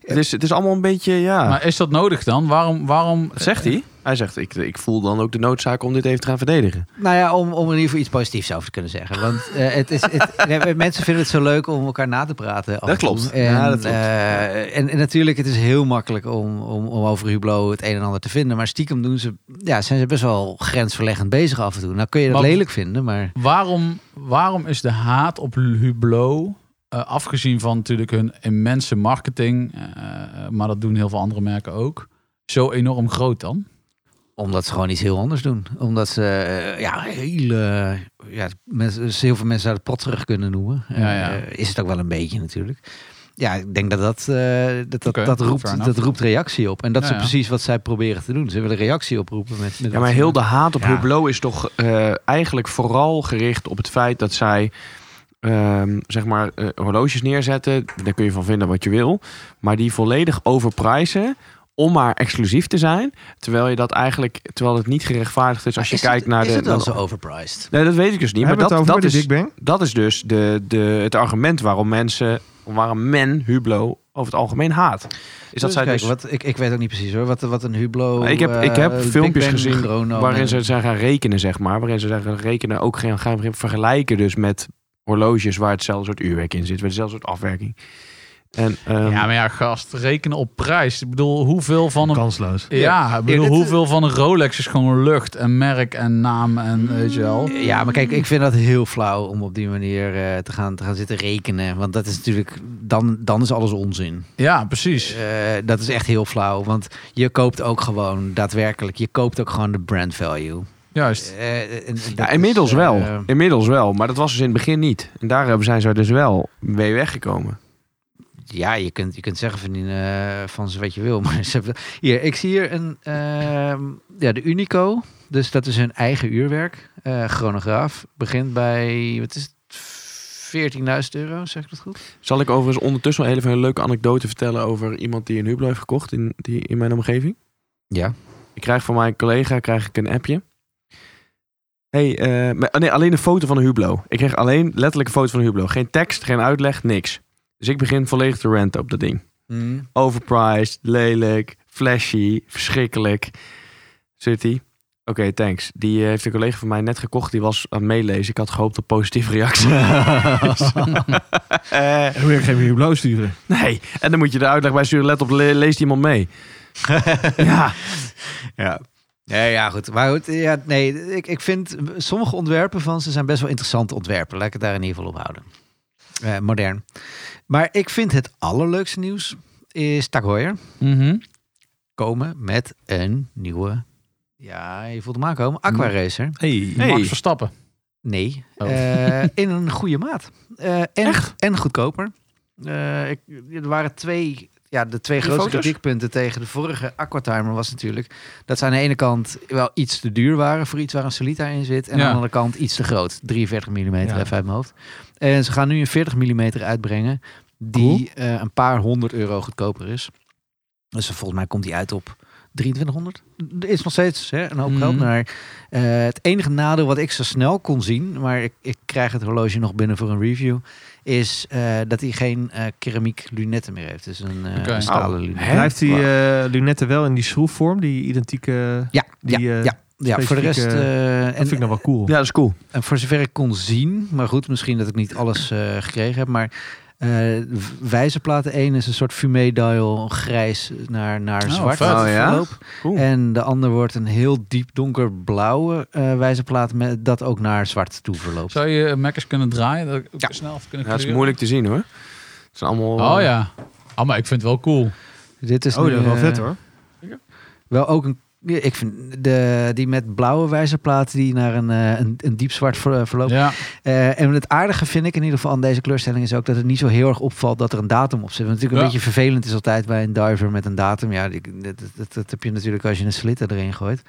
A: Het is, het is allemaal een beetje, ja...
D: Maar is dat nodig dan? Waarom, waarom
A: Wat zegt hij? Hij zegt, ik, ik voel dan ook de noodzaak om dit even te gaan verdedigen.
E: Nou ja, om, om in ieder geval iets positiefs over te kunnen zeggen. Want eh, het is, het, [laughs] nee, maar mensen vinden het zo leuk om elkaar na te praten. af en
A: Dat
E: toe.
A: klopt.
E: En,
A: Ja, dat klopt.
E: eh, en, en natuurlijk, het is heel makkelijk om, om, om over Hublot het een en ander te vinden. Maar stiekem doen ze, ja, zijn ze best wel grensverleggend bezig af en toe. Nou kun je dat
D: Maar-
E: lelijk vinden, maar...
D: Waarom, waarom is de haat op Hublot, eh, afgezien van natuurlijk hun immense marketing, eh, maar dat doen heel veel andere merken ook, zo enorm groot dan?
E: Omdat ze gewoon iets heel anders doen. Omdat ze eh, ja, hele, ja, mensen, ze heel veel mensen zouden potterig kunnen noemen.
D: Ja, ja.
E: Eh, is het ook wel een beetje natuurlijk. Ja, ik denk dat dat, eh, dat, dat,
D: Oké,
E: dat,
D: fair
E: roept,
D: enough.
E: dat roept reactie op. En dat
D: Ja,
E: is
D: ja.
E: precies wat zij proberen te doen. Ze willen reactie oproepen met, met
A: Ja,
E: wat
A: maar
E: ze
A: heel
E: doen.
A: de haat op
E: Ja.
A: Hublot is toch eh, eigenlijk vooral gericht op het feit dat zij... ehm, zeg maar eh, horloges neerzetten, daar kun je van vinden wat je wil, maar die volledig overprijzen om maar exclusief te zijn, terwijl je dat eigenlijk, terwijl het niet gerechtvaardigd is als je
E: Is
A: kijkt
E: het,
A: naar
E: is
A: de.
E: het wel
A: naar-
E: zo overpriced?
A: Nee, dat weet ik dus niet. Maar
B: Hebben we het
A: dat, dat,
B: over bij de
A: is,
B: Big Bang?
A: dat is dus de, de, het argument waarom mensen, waarom men Hublot over het algemeen haat. Is dat
E: Eens
A: zij dus
E: kijken, wat, ik, ik weet ook niet precies hoor. Wat, wat een Hublot...
A: Maar ik heb- ik
E: eh,
A: heb
E: Big
A: filmpjes
E: Bang
A: gezien
E: Chrono
A: waarin
E: en-
A: ze zijn gaan rekenen, zeg maar. Waarin ze zijn gaan rekenen, ook gaan, gaan vergelijken dus met horloges waar hetzelfde soort uurwerk in zit, waar hetzelfde soort afwerking. En, ehm,
D: ja, maar ja, gast, rekenen op prijs. Ik bedoel, hoeveel van een...
B: Kansloos.
D: Ja, ik bedoel,
E: dit-
D: hoeveel van een Rolex is gewoon lucht en merk en naam en eh, weet je wel.
E: Eh, Ja, maar kijk, ik vind dat heel flauw om op die manier eh, te, gaan, te gaan zitten rekenen. Want dat is natuurlijk, dan, dan is alles onzin.
D: Ja, precies.
E: Eh, dat is echt heel flauw. Want je koopt ook gewoon daadwerkelijk, je koopt ook gewoon de brand value.
D: Juist.
E: Eh, en- en
A: ja,
E: dat
A: inmiddels
E: is, eh,
A: wel. inmiddels wel. Maar dat was dus in het begin niet. En daar hebben- zijn ze dus wel mee weggekomen.
E: ja, je kunt, je kunt zeggen van, die, eh, van ze wat je wil. [laughs] Maar ze hebben, hier, ik zie hier een, ehm, ja, de Unico. Dus dat is hun eigen uurwerk. Eh, chronograaf. Begint bij, wat is het? 14.000 euro, zeg ik dat goed?
A: Zal ik overigens ondertussen wel heel even een leuke anekdote vertellen over iemand die een Hublot heeft gekocht in, die, in mijn omgeving?
E: Ja.
A: Ik krijg van mijn collega krijg ik een appje. Hey, eh, maar- oh nee, alleen een foto van een Hublot. Ik kreeg alleen letterlijk een foto van een Hublot. Geen tekst, geen uitleg, niks. Dus ik begin volledig te ranten op dat ding. Overpriced, lelijk, flashy, verschrikkelijk. Zit hij? Oké, thanks. Die eh, heeft een collega van mij net gekocht. Die was aan het meelezen. Ik had gehoopt op positieve reacties. Eh,
B: En hoe ik geen Hublot sturen?
A: nee, en dan moet je de uitleg bij sturen. Let op, le- leest iemand mee. ja.
E: Ja. Ja, ja, goed. Maar goed, ja, nee, ik, ik vind sommige ontwerpen van ze zijn best wel interessante ontwerpen. Laat ik het daar in ieder geval op houden. Eh, modern. Maar ik vind het allerleukste nieuws is Tag Heuer
D: Mhm.
E: komen met een nieuwe... Ja, je voelt hem aankomen. Aquaracer.
B: Hey.
D: Max Verstappen.
E: Nee.
D: Oh.
E: Eh, in een goede maat. Eh, en, en goedkoper. Eh, ik, er waren twee. Ja, de twee
A: Die
E: grootste
A: foto's?
E: kritiekpunten tegen de vorige Aquatimer was natuurlijk dat ze aan de ene kant wel iets te duur waren voor iets waar een Solita in zit. En
D: Ja.
E: aan de andere kant iets te groot. 43 mm
B: Ja.
E: even uit mijn hoofd. En ze gaan nu een 40 mm uitbrengen die eh, een paar honderd euro goedkoper is. Dus volgens mij komt die uit op 2300. Er is nog steeds hè, een hoop
D: Mhm.
E: geld. Maar eh, het enige nadeel wat ik zo snel kon zien, maar ik, ik krijg het horloge nog binnen voor een review, is eh, dat hij geen eh, keramiek lunetten meer heeft. Dus een, eh,
D: Oké.
E: een stalen
A: Oh,
E: lunet.
A: hè?
B: Blijft die eh, lunetten wel in die schroefvorm, die identieke...
E: Ja,
B: Die,
E: ja,
B: eh,
E: ja, ja. Voor de rest.
B: specifieke-
E: eh,
B: Dat
E: en,
B: vind ik nou wel cool.
A: ja, dat is cool.
E: en voor zover ik kon zien, maar goed, misschien dat ik niet alles eh, gekregen heb, maar. eh wijzerplaten 1 is een soort fumé dial grijs naar, naar
D: Oh,
E: zwart.
D: vet.
A: Oh, ja?
E: verloop.
A: cool.
E: En de ander wordt een heel diep donkerblauwe eh wijzerplaat met dat ook naar zwart toe verloopt.
D: Zou je Mackers kunnen draaien? Dat ik ook
E: Ja.
D: snel even kunnen
A: Ja, dat is
D: kleuren?
A: moeilijk te zien hoor. Het zijn allemaal.
D: Oh ja. Oh, maar ik vind het wel cool.
E: Dit is
B: Oh,
E: nu,
B: dat is wel
E: eh,
B: vet hoor.
E: Wel ook een. ja, Ik vind de, die met blauwe wijzerplaat die naar een, eh, een, een diep zwart ver- eh, verloopt.
D: Ja.
E: Eh, en het aardige vind ik in ieder geval aan deze kleurstelling is ook dat het niet zo heel erg opvalt dat er een datum op zit. Wat natuurlijk een
D: Ja.
E: beetje vervelend is altijd bij een diver met een datum. Ja, die- dat, dat, dat, dat heb je natuurlijk als je een slitter erin gooit.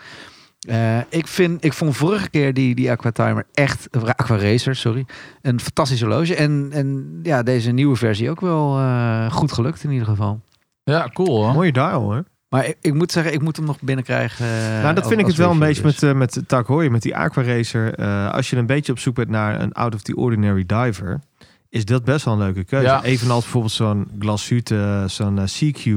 E: Eh, ik, vind, ik vond vorige keer die, die Aquatimer echt, of Aquaracer, sorry, een fantastisch horloge. En, en ja, deze nieuwe versie ook wel eh, goed gelukt in ieder geval.
D: ja, cool hoor.
B: Mooie dial hoor.
E: Maar ik, ik moet zeggen, ik moet hem nog binnenkrijgen. eh,
B: nou, dat
E: als-
B: vind ik
E: als
B: het wel een beetje
E: review dus.
B: met, eh, met Tag Heuer, met die Aquaracer. eh als je een beetje op zoek bent naar een out of the ordinary diver, is dat best wel een leuke keuze.
D: Ja.
B: Evenals bijvoorbeeld zo'n glasuite, zo'n eh, CQ.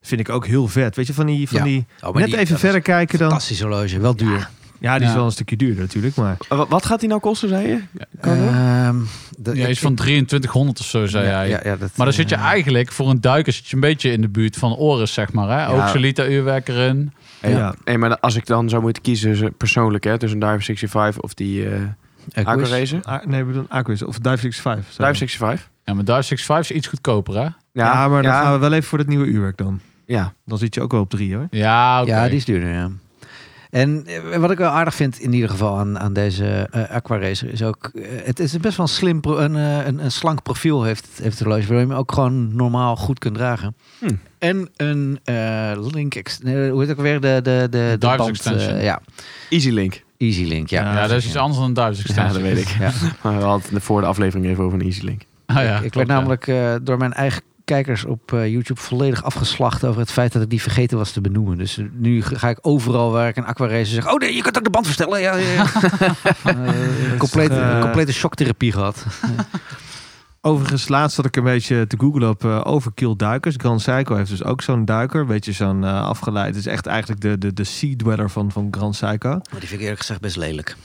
B: Vind ik ook heel vet. Weet je, van die, van
E: Ja.
B: die
E: Oh, maar
B: net
E: die-
B: even
E: dat is
B: verder kijken dan.
E: Fantastisch horloge, wel duur.
B: Ja, die is
D: Ja.
B: wel een stukje duurder natuurlijk, maar
A: Eh, wa- Wat gaat die nou kosten, zei je? Kan dat?
E: Ehm, dat-
D: Ja,
E: ik-
D: is van
E: ik-
D: 2300 of zo, zei
E: ja,
D: hij.
E: ja, ja, dat,
D: Maar dan zit je
E: eh,
D: eigenlijk, voor een duiker zit je een beetje in de buurt van Oris, zeg maar. Hè? Ook
A: Ja.
D: Solita uurwerk erin.
A: Hey,
B: Ja.
A: hey, maar als ik dan zou moeten kiezen, z- persoonlijk, hè, tussen Dive 65 of die eh
E: Aquis.
A: Aqua Racer.
B: Ah, nee, we doen Aquis of Dive 65. sorry.
A: Dive 65.
D: Ja, maar Dive 65 is iets goedkoper, hè?
B: Ja, maar dan
A: ja,
B: gaan we wel even voor het nieuwe uurwerk dan.
A: ja.
B: Dan zit je ook wel op drie hoor.
D: Ja, oké.
E: Ja, die is duurder, ja. En eh, wat ik wel aardig vind in ieder geval aan, aan deze eh Aqua Racer is ook... eh, het is best wel een slim, pro- een, eh, een, een slank profiel heeft, het- heeft het horloge. Waardoor je hem ook gewoon normaal goed kunt dragen.
A: Hm.
E: En een eh, link... ex- nee, hoe heet het ook weer? De, de, de, de
D: Divers
E: band,
D: extension.
E: eh, ja,
A: Easy Link. [laughs]
E: Easy Link. Ja,
D: ja, dat is iets anders dan een Dive
A: Ja, dat
D: 65.
A: weet ik.
E: Ja.
A: Maar we hadden het voor de aflevering even over een Easy Link.
D: [laughs] Ah, ja,
E: ik
D: klopt,
E: werd
D: ja.
E: namelijk eh, door mijn eigen kijkers op eh, YouTube volledig afgeslacht over het feit dat ik die vergeten was te benoemen. Dus eh, nu ga ik overal waar ik een aquaracer zeg, oh nee, je kunt ook de band verstellen. Ja, [laughs] ja, ja. Eh,
B: [laughs]
E: een complete,
B: eh,
E: een complete shocktherapie gehad.
B: Overigens, laatst zat ik een beetje te googlen op eh, overkill duikers. Grand Psycho heeft dus ook zo'n duiker. Een beetje zo'n eh, afgeleid. Het is echt eigenlijk de, de, de sea dweller van, van Grand Psycho.
E: Maar Oh, die vind ik eerlijk gezegd best lelijk.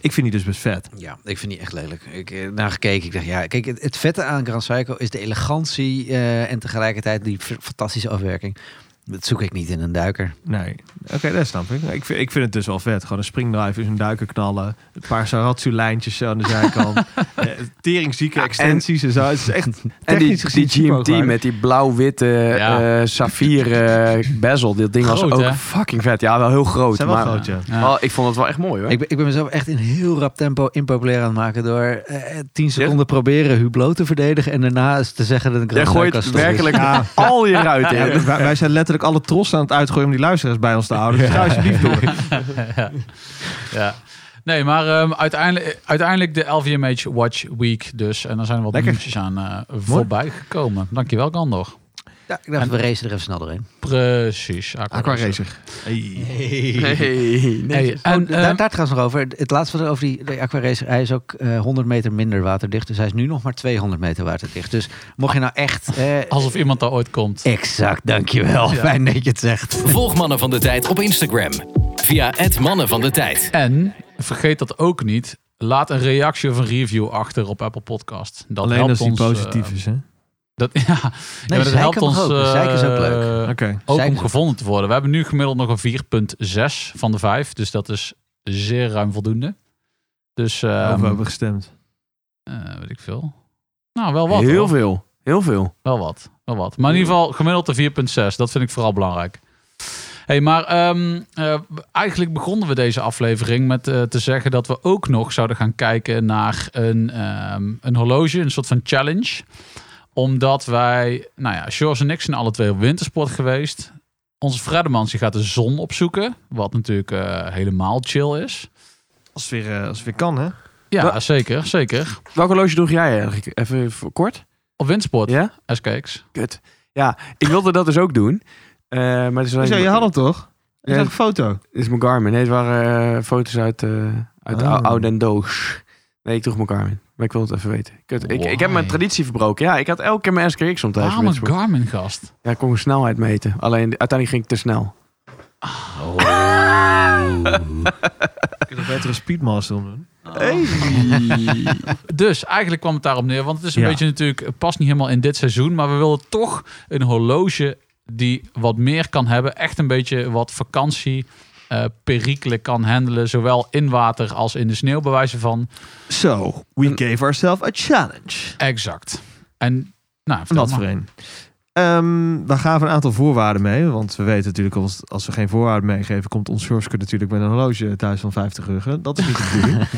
B: Ik vind die dus best vet.
E: Ja, ik vind die echt lelijk. Ik eh, naar gekeken, ik dacht ja, kijk, het, het vette aan Grand Psycho is de elegantie eh, en tegelijkertijd die f- fantastische afwerking. Dat zoek ik niet in een duiker.
B: Nee, oké, dat snap ik. Ik vind, ik vind het dus wel vet. Gewoon een springdrive is een duiker knallen. Een paar Saratsu-lijntjes zo aan de zijkant. eh, teringzieke extensies en zo. Het is echt
A: En die,
B: technisch gezien
A: die GMT
B: superhoogwaardig.
A: met die blauw-witte
D: Ja.
A: eh saffier
B: [laughs]
A: eh, bezel. Dat ding was
D: Groot,
A: ook
D: hè?
A: fucking vet. Ja, wel heel groot.
B: Zijn wel
A: maar,
B: groot, ja.
D: Ja.
A: Oh, ik vond het wel echt mooi hoor.
E: Ik ben, ik ben mezelf echt in heel rap tempo impopulair aan het maken door eh, 10 seconden proberen Hublot te verdedigen en daarna is te zeggen dat ik
A: Jij gooit werkelijk
B: Ja.
A: al je ruit
B: Ja,
A: in.
B: wij, wij zijn letterlijk alle trots aan het uitgooien om die luisteraars bij ons te houden. Dus ga alsjeblieft door.
D: ja. Nee, maar ehm, uiteindelijk, uiteindelijk de LVMH Watch Week dus. En daar zijn wat
B: Lekker.
D: nieuwtjes aan eh, voorbij gekomen. Dankjewel, Gandor.
E: Ja, ik dacht, we racen er even snel doorheen.
D: Precies.
B: Aqua Racer.
A: Hey,
D: Hey,
A: nee.
D: en,
E: eh, daar,
D: ehm,
E: daar trouwens nog over. Het laatste wat over die, de Aquaracer. Hij is ook eh, 100 meter minder waterdicht. Dus hij is nu nog maar 200 meter waterdicht. Dus mocht je nou echt... eh,
D: alsof iemand daar ooit komt.
E: Exact, dankjewel. Fijn dat je het zegt.
C: Volg Mannen van de Tijd op Instagram. Via het Mannen van de Tijd.
D: En vergeet dat ook niet. Laat een reactie of een review achter op Apple Podcast. Dat
B: Alleen
D: helpt
B: als die
D: ons, eh,
B: positief is, hè?
D: dat, [laughs] ja, ja, maar dat
E: zeiken
D: helpt
E: mag
D: ons
E: ook.
D: eh,
E: Zeiken is ook leuk.
B: Oké.
D: ook
E: Zeiken
D: om
E: is ook
D: gevonden te worden. We hebben nu gemiddeld nog een 4,6 van de 5. Dus dat is zeer ruim voldoende. Dus ehm,
B: Over hebben we gestemd.
D: eh, weet ik veel. Nou, wel wat.
A: Heel
D: hoor.
A: veel. Heel veel.
D: Wel wat, wel wat. Maar in ieder geval gemiddeld de 4.6. Dat vind ik vooral belangrijk. hey, maar ehm, eh, eigenlijk begonnen we deze aflevering met eh, te zeggen dat we ook nog zouden gaan kijken naar een, ehm, een horloge, een soort van challenge. Omdat wij, nou ja, George en ik zijn alle twee op wintersport geweest. Onze Fredemans die gaat de zon opzoeken, wat natuurlijk eh, helemaal chill is.
B: Als het weer, eh, als het weer kan, hè?
D: Ja,
A: Wa-
D: zeker, zeker.
A: Welke horloge droeg jij eigenlijk? Even voor kort.
D: Op wintersport,
A: Ja?
D: SKX.
A: Kut. Ja, ik wilde dat dus ook doen. Eh, maar het is, alleen-
B: Zo, je had hem toch? Je
A: Ja.
B: zag een foto.
A: het is mijn Garmin. Nee, het waren eh, foto's uit, eh uit
B: Oh.
A: ou- oud en doos. Nee, ik droeg mijn Garmin. Maar ik wilde het even weten. Kut. Ik, ik heb mijn
D: Why?
A: traditie verbroken. Ja, ik had elke keer mijn SKX om tijdens
D: Waarom
A: mijn
D: een
A: sport.
D: Garmin gast?
A: Ja, ik kon mijn snelheid meten. Alleen uiteindelijk ging ik te snel.
B: Ik heb een betere Speedmaster om doen.
D: Dus eigenlijk kwam het daarop neer, want het is een
B: Ja.
D: beetje natuurlijk eh, past niet helemaal in dit seizoen, maar we willen toch een horloge die wat meer kan hebben, echt een beetje wat vakantie eh, perikelen kan handelen, zowel in water als in de sneeuw bij wijze van.
B: So, we gave ourselves a challenge.
D: Exact. En nou,
B: Van
D: vertel
B: dat
D: maar.
B: voor een. Ehm we gaven een aantal voorwaarden mee. Want we weten natuurlijk, als, als we geen voorwaarden meegeven... komt ons Sjorske natuurlijk met een horloge thuis van 50 ruggen. Dat is niet de bedoeling. [laughs]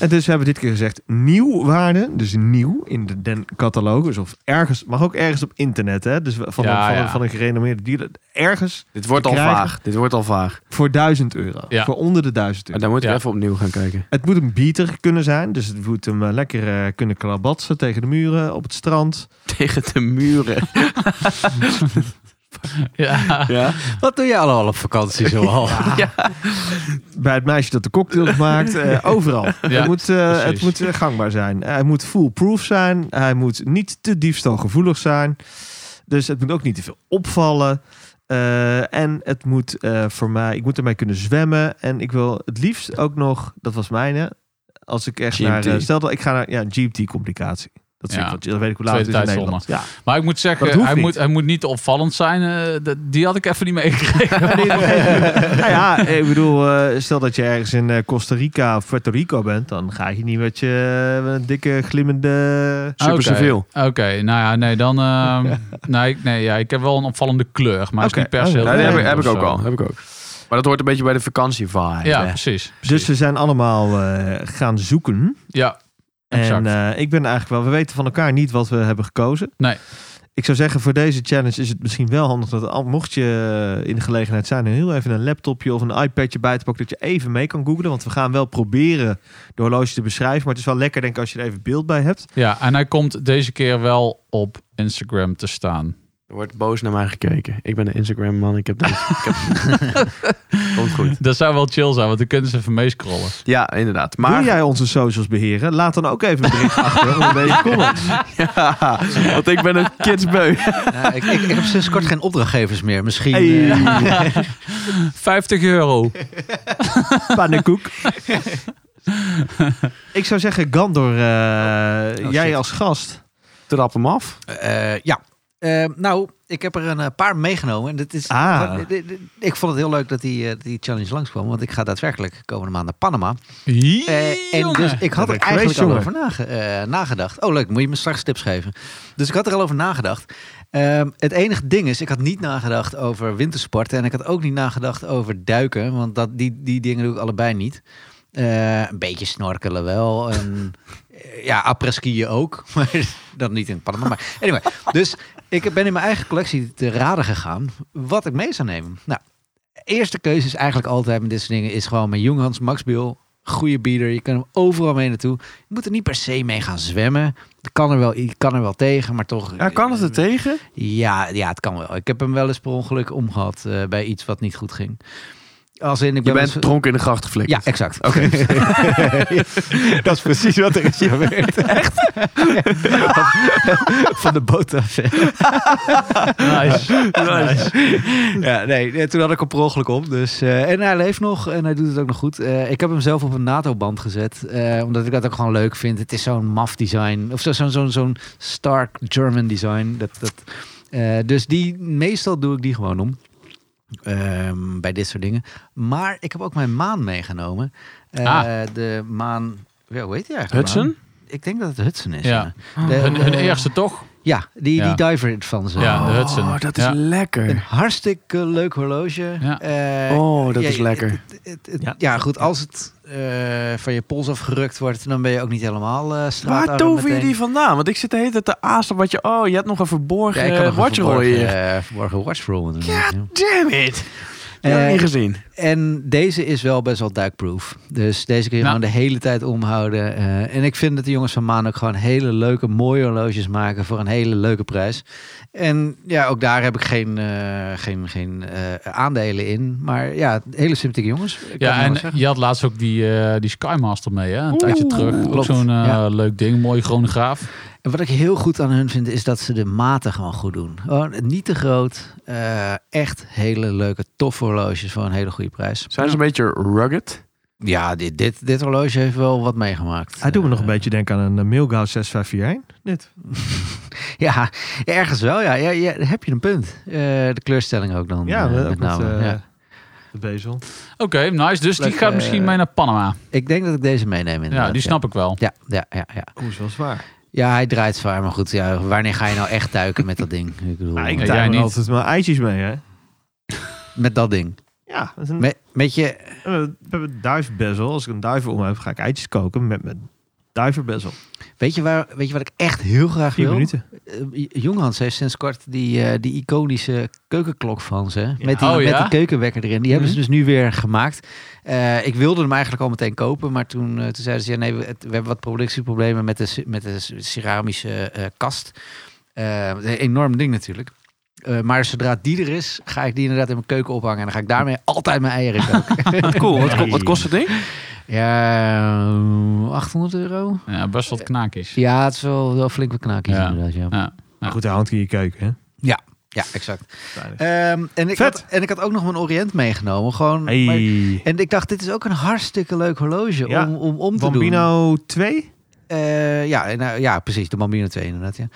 B: en dus we hebben dit keer gezegd nieuw waarden. Dus nieuw in de den catalogus. Of ergens, mag ook ergens op internet. Hè? Dus van,
D: Ja,
B: een, van,
D: ja.
B: Een, van een gerenommeerde dealer.
A: [laughs]
B: Ergens
A: Dit wordt al
B: krijgen-
A: vaag. Dit wordt al vaag.
B: voor 1000 euro.
D: Ja.
B: Voor onder de 1000 euro.
A: Maar dan moet ik
D: Ja.
A: even opnieuw gaan kijken.
B: Het moet een beater kunnen zijn. Dus het moet hem eh, lekker eh, kunnen klabatsen tegen de muren op het strand.
A: Tegen de muren.
D: [laughs] Ja.
A: Ja.
E: Wat doe je allemaal op vakantie zoal?
B: Bij het meisje dat de
D: [laughs]
B: cocktails maakt. eh, overal. het moet, eh,
D: precies.
B: het moet eh, gangbaar zijn. hij moet foolproof zijn. Hij moet niet te diefstalgevoelig zijn. Dus het moet ook niet te veel opvallen. Eh, en het moet eh, voor mij... Ik moet ermee kunnen zwemmen. En ik wil het liefst ook nog... Dat was mijne. Als ik echt naar...
A: GMT.
B: eh, stel dat ik ga naar... Ja, GMT-complicatie. Dat, zie ik,
D: Ja.
B: want dat weet ik hoe laat het is in
D: Tweede
B: Nederland. Ja.
D: Maar ik moet
B: Dat
D: zeggen,
B: hoeft
D: hij
B: niet.
D: moet, hij moet niet opvallend zijn. eh, dat- die had ik even
B: [laughs]
D: niet meegekregen. [laughs]
B: nou ja, ik bedoel, eh, stel dat je ergens in eh, Costa Rica of Puerto Rico bent, dan ga je niet met je eh, met een dikke glimmende.
A: Super
D: Oké.
A: zoveel.
D: Oké, nou ja, nee, dan... ehm, nee, ik- nee ja, ik heb wel een opvallende kleur, maar het
B: Oké.
D: is niet per se...
B: Oh,
D: heel
A: Ja, die heb, ik-
D: vreemd
A: heb ik
D: of
A: ook
D: zo.
A: al. Heb ik ook. Maar dat hoort een beetje bij de vakantievibe.
D: Ja,
A: hè.
D: precies.
B: Dus
D: precies.
B: we zijn allemaal eh, gaan zoeken.
D: ja,
B: En
D: exact.
B: eh, ik ben eigenlijk wel, we weten van elkaar niet wat we hebben gekozen.
D: Nee.
B: Ik zou zeggen, voor deze challenge is het misschien wel handig dat al- mocht je eh, in de gelegenheid zijn, heel even een laptopje of een iPadje bij te pakken, dat je even mee kan googlen. Want we gaan wel proberen de horloge te beschrijven. Maar het is wel lekker, denk ik, als je er even beeld bij hebt.
D: ja, en hij komt deze keer wel op Instagram te staan.
A: Er wordt boos naar mij gekeken. Ik ben een Instagram man. Ik heb dit. ik [laughs] heb... Komt goed.
D: Dat zou wel chill zijn, want dan kunnen ze even meescrollen.
A: Ja, inderdaad.
B: Wil
A: Maar
B: jij onze socials beheren? Laat dan ook even een [laughs] bericht achter onder deze comments.
A: Ja, [laughs] want ik ben een kidsbeu.
E: Ja, Nou, ik, ik, ik heb sinds kort geen opdrachtgevers meer. Misschien. eh,
D: 50 euro.
B: Pannenkoek. Ik zou zeggen, Gandor, eh, jij
A: shit.
B: als gast.
A: Trap hem af.
E: Eh, ja. Eh, nou, ik heb er een eh, paar meegenomen. En dit is,
B: Ah.
E: dit- dit- dit- ik vond het heel leuk dat die, eh, die challenge langskwam. Want ik ga daadwerkelijk komende maand naar Panama. Eh, en dus ik had
B: ben
E: er
B: ik
E: eigenlijk
B: geweest,
E: al
B: jongen.
E: over nage- eh, nagedacht. Oh, leuk, moet je me straks tips geven. Dus ik had er al over nagedacht. Ehm, het enige ding is, ik had niet nagedacht over wintersporten. En ik had ook niet nagedacht over duiken. Want dat, die, die dingen doe ik allebei niet. Eh, een beetje snorkelen wel. En, eh, ja, après-skiën ook. [laughs] Maar dan niet in Panama. Maar anyway, dus ik ben in mijn eigen collectie te raden gegaan wat ik mee zou nemen. Nou, eerste keuze is eigenlijk altijd met dit soort dingen... is gewoon mijn Junghans Max Biel. Goede bieder. Je kan hem overal mee naartoe. Je moet er niet per se mee gaan zwemmen. Dat kan er wel, je kan er wel tegen, maar toch...
A: Ja, kan het er tegen?
E: Ja, ja, het kan wel. Ik heb hem wel eens per ongeluk omgehad eh, bij iets wat niet goed ging. Als in, ik
A: Je
E: ben
A: bent
E: wel eens-
A: dronken in de gracht geflikt.
E: Ja, exact.
A: Oké.
E: [laughs]
B: Dat is precies wat er is gebeurd.
E: Van de boot af.
D: Nice. nice.
E: ja, nee, eh, toen had ik hem per ongeluk om. Dus, eh, en hij leeft nog en hij doet het ook nog goed. Eh, ik heb hem zelf op een NATO-band gezet, eh, omdat ik dat ook gewoon leuk vind. Het is zo'n maf design, of zo- zo'n zo'n zo'n stark German design. Dat, dat, eh, dus die, meestal doe ik die gewoon om. Ehm, bij dit soort dingen. Maar ik heb ook mijn maan meegenomen. Eh,
D: Ah.
E: De maan, ja, hoe heet die eigenlijk?
A: Hudson?
E: Ik denk dat het Hudson is.
D: Ja. Ah.
E: Ja, De-
D: Hun, hun
E: eh,
D: eerste toch?
E: ja, die,
D: Ja.
E: die diver van ze.
D: Ja, de Hudson.
A: Oh, dat is
D: Ja.
E: Een
A: lekker.
E: hartstikke leuk horloge.
D: Ja.
E: Eh,
A: Oh, dat
E: ja,
A: is lekker.
E: het- het- het-
B: Ja.
E: ja. goed. Als het eh, van je pols afgerukt wordt, dan ben je ook niet helemaal eh straatarm
A: Waar tover je
E: meteen.
A: die vandaan? Want ik zit de hele tijd te aasten wat je... Oh, je hebt nog een verborgen
E: Ja, ik
A: ja,
E: kan nog een
A: watchroll
E: verborgen,
A: hier.
E: eh, verborgen watchroll. doen, ja.
A: Damn it. Die had ik
E: Eh,
A: niet gezien.
E: En deze is wel best wel duikproof. Dus deze kun je
D: Nou.
E: gewoon de hele tijd omhouden. eh, en ik vind dat de jongens van Maan ook gewoon hele leuke, mooie horloges maken voor een hele leuke prijs. En ja, ook daar heb ik geen, eh, geen, geen eh, aandelen in. Maar ja, hele sympathieke jongens. kan ik
D: Ja,
E: wel
D: en
E: zeggen.
D: je had laatst ook die, eh, die Skymaster mee, hè? Een tijdje terug. Ook
E: klopt.
D: zo'n eh,
E: Ja.
D: leuk ding, mooie chronograaf.
E: En wat ik heel goed aan hun vind, is dat ze de maten gewoon goed doen. Gewoon niet te groot. eh, echt hele leuke, toffe horloges voor een hele goede prijs.
A: Zijn ze een beetje rugged?
E: Ja, dit, dit, dit horloge heeft wel wat meegemaakt.
B: Hij doet me Ah, nog een
E: Eh,
B: beetje denken aan een eh, Milgauw 6541. Dit.
E: Ja, ergens wel. Ja, ja, ja heb je een punt. Eh, de kleurstelling ook dan.
B: Ja,
E: eh,
B: ook
E: met
B: met,
E: name.
B: eh,
E: ja.
B: de bezel.
D: Oké, nice. Dus die
E: Leuk,
D: gaat
E: eh,
D: misschien mee naar Panama.
E: Ik denk dat ik deze meeneem. Inderdaad.
D: Ja, die snap ik wel.
E: Ja, ja, ja, ja.
B: Oeh, is wel zwaar.
E: ja, hij draait zwaar, maar goed. Ja, wanneer ga je nou echt duiken met dat ding? Ik bedoel,
B: Maar ik
D: Ja,
B: ja,
D: jij
B: daar
D: niet.
B: altijd mijn eitjes mee, hè?
E: met dat ding.
B: Ja, met een,
E: Met, met je
B: eh, we hebben een duifbezel. Als ik een duiven om heb, ga ik eitjes koken met mijn duivenbezel.
E: Weet je, waar, weet je wat ik echt heel graag
B: Vier
E: wil?
B: minuten.
E: Eh, Jonghans heeft sinds kort die, eh, die iconische keukenklok van ze. Met, die,
D: Oh,
E: met
D: ja? Mhm.
E: die keukenwekker erin. Die hebben ze dus nu weer gemaakt. Eh, ik wilde hem eigenlijk al meteen kopen. Maar toen, eh, toen zeiden ze, ja, nee, we, het- we hebben wat productieproblemen met de, ce- met de ce- ceramische eh, kast. Eh, een enorm ding natuurlijk. Eh, maar zodra die er is, ga ik die inderdaad in mijn keuken ophangen. En dan ga ik daarmee altijd mijn
D: [laughs]
E: eieren koken.
A: Ah, Cool, wat, ko- wat kost het ding?
E: ja, eh, 800 euro.
D: Ja, best wat knaakjes.
E: Ja, het is wel, wel flink wat knaakjes
D: Ja.
E: inderdaad. Ja,
D: Ja.
B: Maar Nou, goed, de hand in je keuken, hè?
E: ja, ja exact.
B: Veilig.
E: Ehm, en, ik
B: Vet.
E: Had, en ik had ook nog mijn Orient meegenomen. Gewoon, maar-
B: Hey.
E: en ik dacht, dit is ook een hartstikke leuk horloge
B: Ja,
E: om, om om te doen.
B: Bambino 2?
E: Eh, ja, en, eh, ja, precies. De Bambino 2 inderdaad, ja.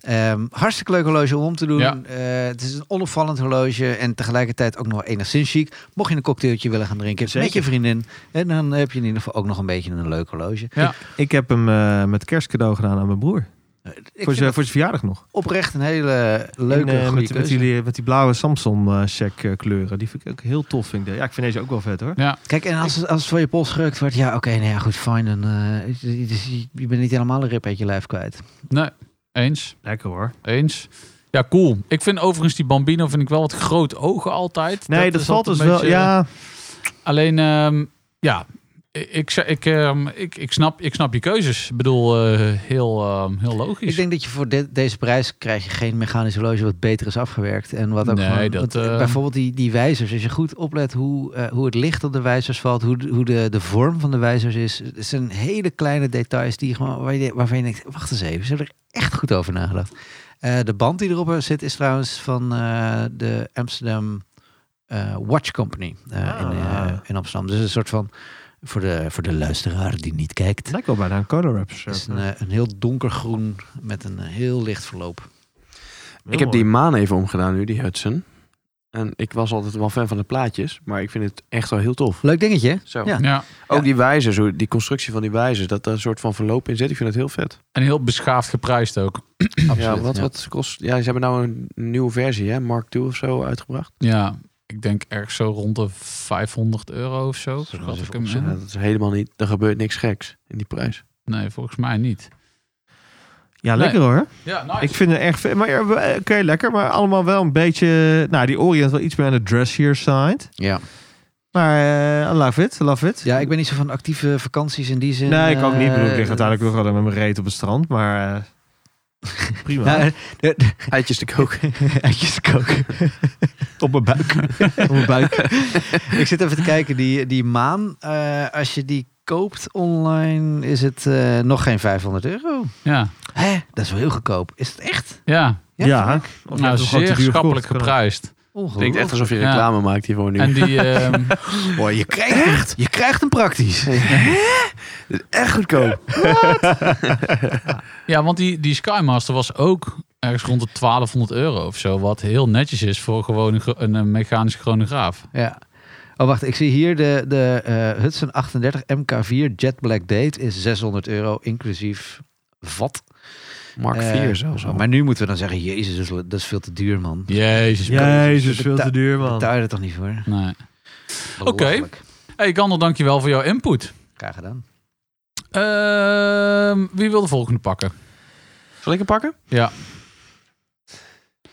E: Ehm, hartstikke leuk horloge om om te doen.
D: Ja.
E: Eh, het is een onopvallend horloge en tegelijkertijd ook nog enigszins chic. Mocht je een cocktailtje willen gaan drinken
B: Zeker.
E: met je vriendin, en dan heb je in ieder geval ook nog een beetje een leuk horloge.
B: Ik heb hem eh, met kerstcadeau gedaan aan mijn broer.
E: Eh, Ik
B: voor
E: vind
B: zijn
E: het
B: voor zijn verjaardag nog.
E: oprecht een hele leuke,
B: En, eh,
E: goede
B: met, met,
E: keuze.
B: die, met die blauwe Samsung eh, check eh, kleuren. Die vind ik ook heel tof. Vind ik. Ja, ik vind deze ook wel vet hoor.
D: Ja.
E: Kijk, en als, het- als het voor je pols gerukt wordt, ja oké, nou ja, goed, fijn. Dan, eh, je- je- je bent niet helemaal een rip uit je lijf kwijt.
D: Nee, eens.
B: Lekker hoor.
D: Eens. Ja, cool. Ik vind overigens die Bambino vind ik wel wat groot ogen altijd.
B: Nee, dat,
D: is
B: valt dus
D: altijd een
B: wel.
D: beetje-
B: Ja,
D: Alleen, ehm, ja, ik, ik, ik, ehm, ik, ik, snap, ik snap je keuzes. Ik bedoel, eh, heel, ehm, heel logisch.
E: Ik denk dat je voor de- deze prijs krijg je geen mechanisch horloge wat beter is afgewerkt. En wat ook
D: Nee,
E: gewoon-
D: dat,
E: want, eh,
D: eh,
E: Bijvoorbeeld die, die wijzers. Als je goed oplet hoe, eh, hoe het licht op de wijzers valt, hoe, de- hoe de, de vorm van de wijzers is. Het zijn hele kleine details die je gewoon, waar je, waarvan je denkt, wacht eens even, ze hebben er echt goed over nagedacht. Eh, de band die erop zit is trouwens van eh, de Amsterdam eh, Watch Company eh, in, eh,
B: Ah.
E: in Amsterdam. Dus een soort van, voor de, voor de luisteraar die niet kijkt,
B: het lijkt wel bijna een color wrap.
E: het is een, eh, een heel donkergroen met een eh, heel licht verloop.
A: Ik heb die maan even omgedaan nu, die Hudson. En ik was altijd wel fan van de plaatjes, maar ik vind het echt wel heel tof.
E: Leuk dingetje. hè?
A: Zo.
E: Ja.
D: Ja,
A: Ook die wijzers, hoe- die constructie van die wijzers, dat daar een soort van verloop in zit. Ik vind het heel vet.
D: en heel beschaafd geprijsd ook.
A: ja, wat, wat kost... Ja, ze hebben nou een nieuwe versie, hè? Mark II of zo uitgebracht.
D: Ja, ik denk ergens zo rond de 500 euro of zo.
E: Zullen we
D: schat
E: eens
D: ik hem
A: Ja,
D: in.
A: dat is helemaal niet... Er gebeurt niks geks in die prijs.
D: Nee, volgens mij niet.
B: Ja, lekker hoor.
D: Ja,
B: Ik vind het echt vet. Maar ja, eh, oké, lekker. Maar allemaal wel een beetje. Nou, die Orient wel iets meer aan de dressier side.
E: Ja.
B: Maar eh, I love it. I love it.
E: ja, ik ben niet zo van actieve vakanties in die zin.
B: Nee, ik ook niet. Ik bedoel, ik
E: eh,
B: lig uiteindelijk wel gewoon met mijn reet op het strand. Maar eh, [laughs] prima.
E: Ja, eh, de- de-
A: Eitjes te
E: [laughs]
A: [laughs] koken.
E: Eitjes koken.
B: [laughs] op mijn buik.
E: [laughs]
B: op mijn buik.
E: ik zit even te kijken, die, die maan, eh, als je die koopt online, is het eh, nog geen 500 euro.
D: Ja,
E: Hè? Dat is wel heel goedkoop. Is het echt?
D: ja.
B: Ja,
E: vind ik.
B: Of heb
D: nou,
B: je hem gewoon te
D: zeer
B: duur
D: schappelijk
B: gekocht?
D: geprijsd.
A: Het klinkt
E: Ongelooflijk.
A: echt alsof je
D: Ja.
A: reclame maakt hiervoor nu.
D: En die,
B: [laughs]
D: ehm,
E: Boy, je, krijgt, je krijgt hem praktisch.
A: echt goedkoop.
D: ja, want die, die Skymaster was ook ergens rond de 1200 euro of zo. Wat heel netjes is voor gewoon een, gro- een, eh, mechanische chronograaf.
E: Ja. Oh, wacht. Ik zie hier de, de eh, Hudson 38 MK4 Jet Black Date is 600 euro, inclusief VAT.
A: Mark
E: Eh,
A: 4 zelfs al.
E: Maar nu moeten we dan zeggen, jezus, dat is, dat is veel te duur, man.
D: Jezus.
B: Jezus,
E: Beta-
B: veel te duur, man.
E: Betaal je er toch niet voor?
D: Nee.
E: Belachelijk.
D: Hey, Gander, dankjewel voor jouw input.
E: Graag gedaan.
D: Ehm, wie wil de volgende pakken?
A: Zal ik hem pakken?
D: Ja.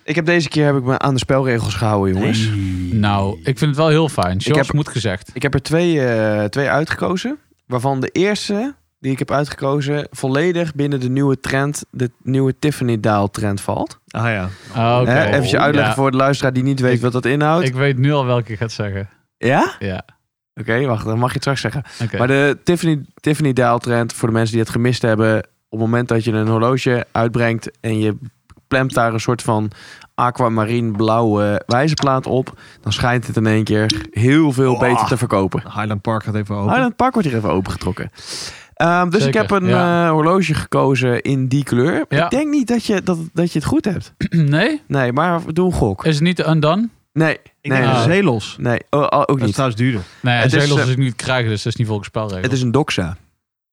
A: Ik heb deze keer heb ik me aan de spelregels gehouden, jongens.
D: Nou, ik vind het wel heel fijn. George
A: heb-
D: moet gezegd.
A: Ik heb er twee, eh, twee uitgekozen. Waarvan de eerste die ik heb uitgekozen volledig binnen de nieuwe trend, de nieuwe Tiffany Daal trend valt.
B: Ah ja.
D: Oké.
A: Hè, even je uitleggen
D: Ja,
A: voor de luisteraar die niet weet
D: Ik-
A: wat dat inhoudt.
D: Ik weet nu al welke ik ga zeggen.
A: Ja?
D: Ja.
A: Oké, wacht, dan mag je het straks zeggen.
D: Oké.
A: Maar de Tiffany, Tiffany Daal trend, voor de mensen die het gemist hebben, op het moment dat je een horloge uitbrengt en je plemt daar een soort van aquamarine blauwe wijzerplaat op, dan schijnt het in één keer heel veel
B: Oh.
A: beter te verkopen.
B: Highland Park gaat even open.
A: Ah, dan pak wordt hier even opengetrokken. Ehm, dus
D: Zeker,
A: ik heb een
D: ja.
A: eh, horloge gekozen in die kleur.
D: Ja.
A: Ik denk niet dat je, dat, dat je het goed hebt.
D: [clears throat] nee?
A: Nee, maar doe een gok.
D: Is het niet de Undone?
A: Nee,
B: Ik denk
A: nee,
D: dat-
B: een
A: nee.
B: zeelos.
A: nee. Oh, oh, ook
B: Dat is
A: niet.
B: trouwens duurder.
D: Nee,
A: Het
D: het
A: is,
D: is,
A: eh,
D: ik niet krijgen, dus dat is niet volgens spelregels.
A: Het is een Doxa.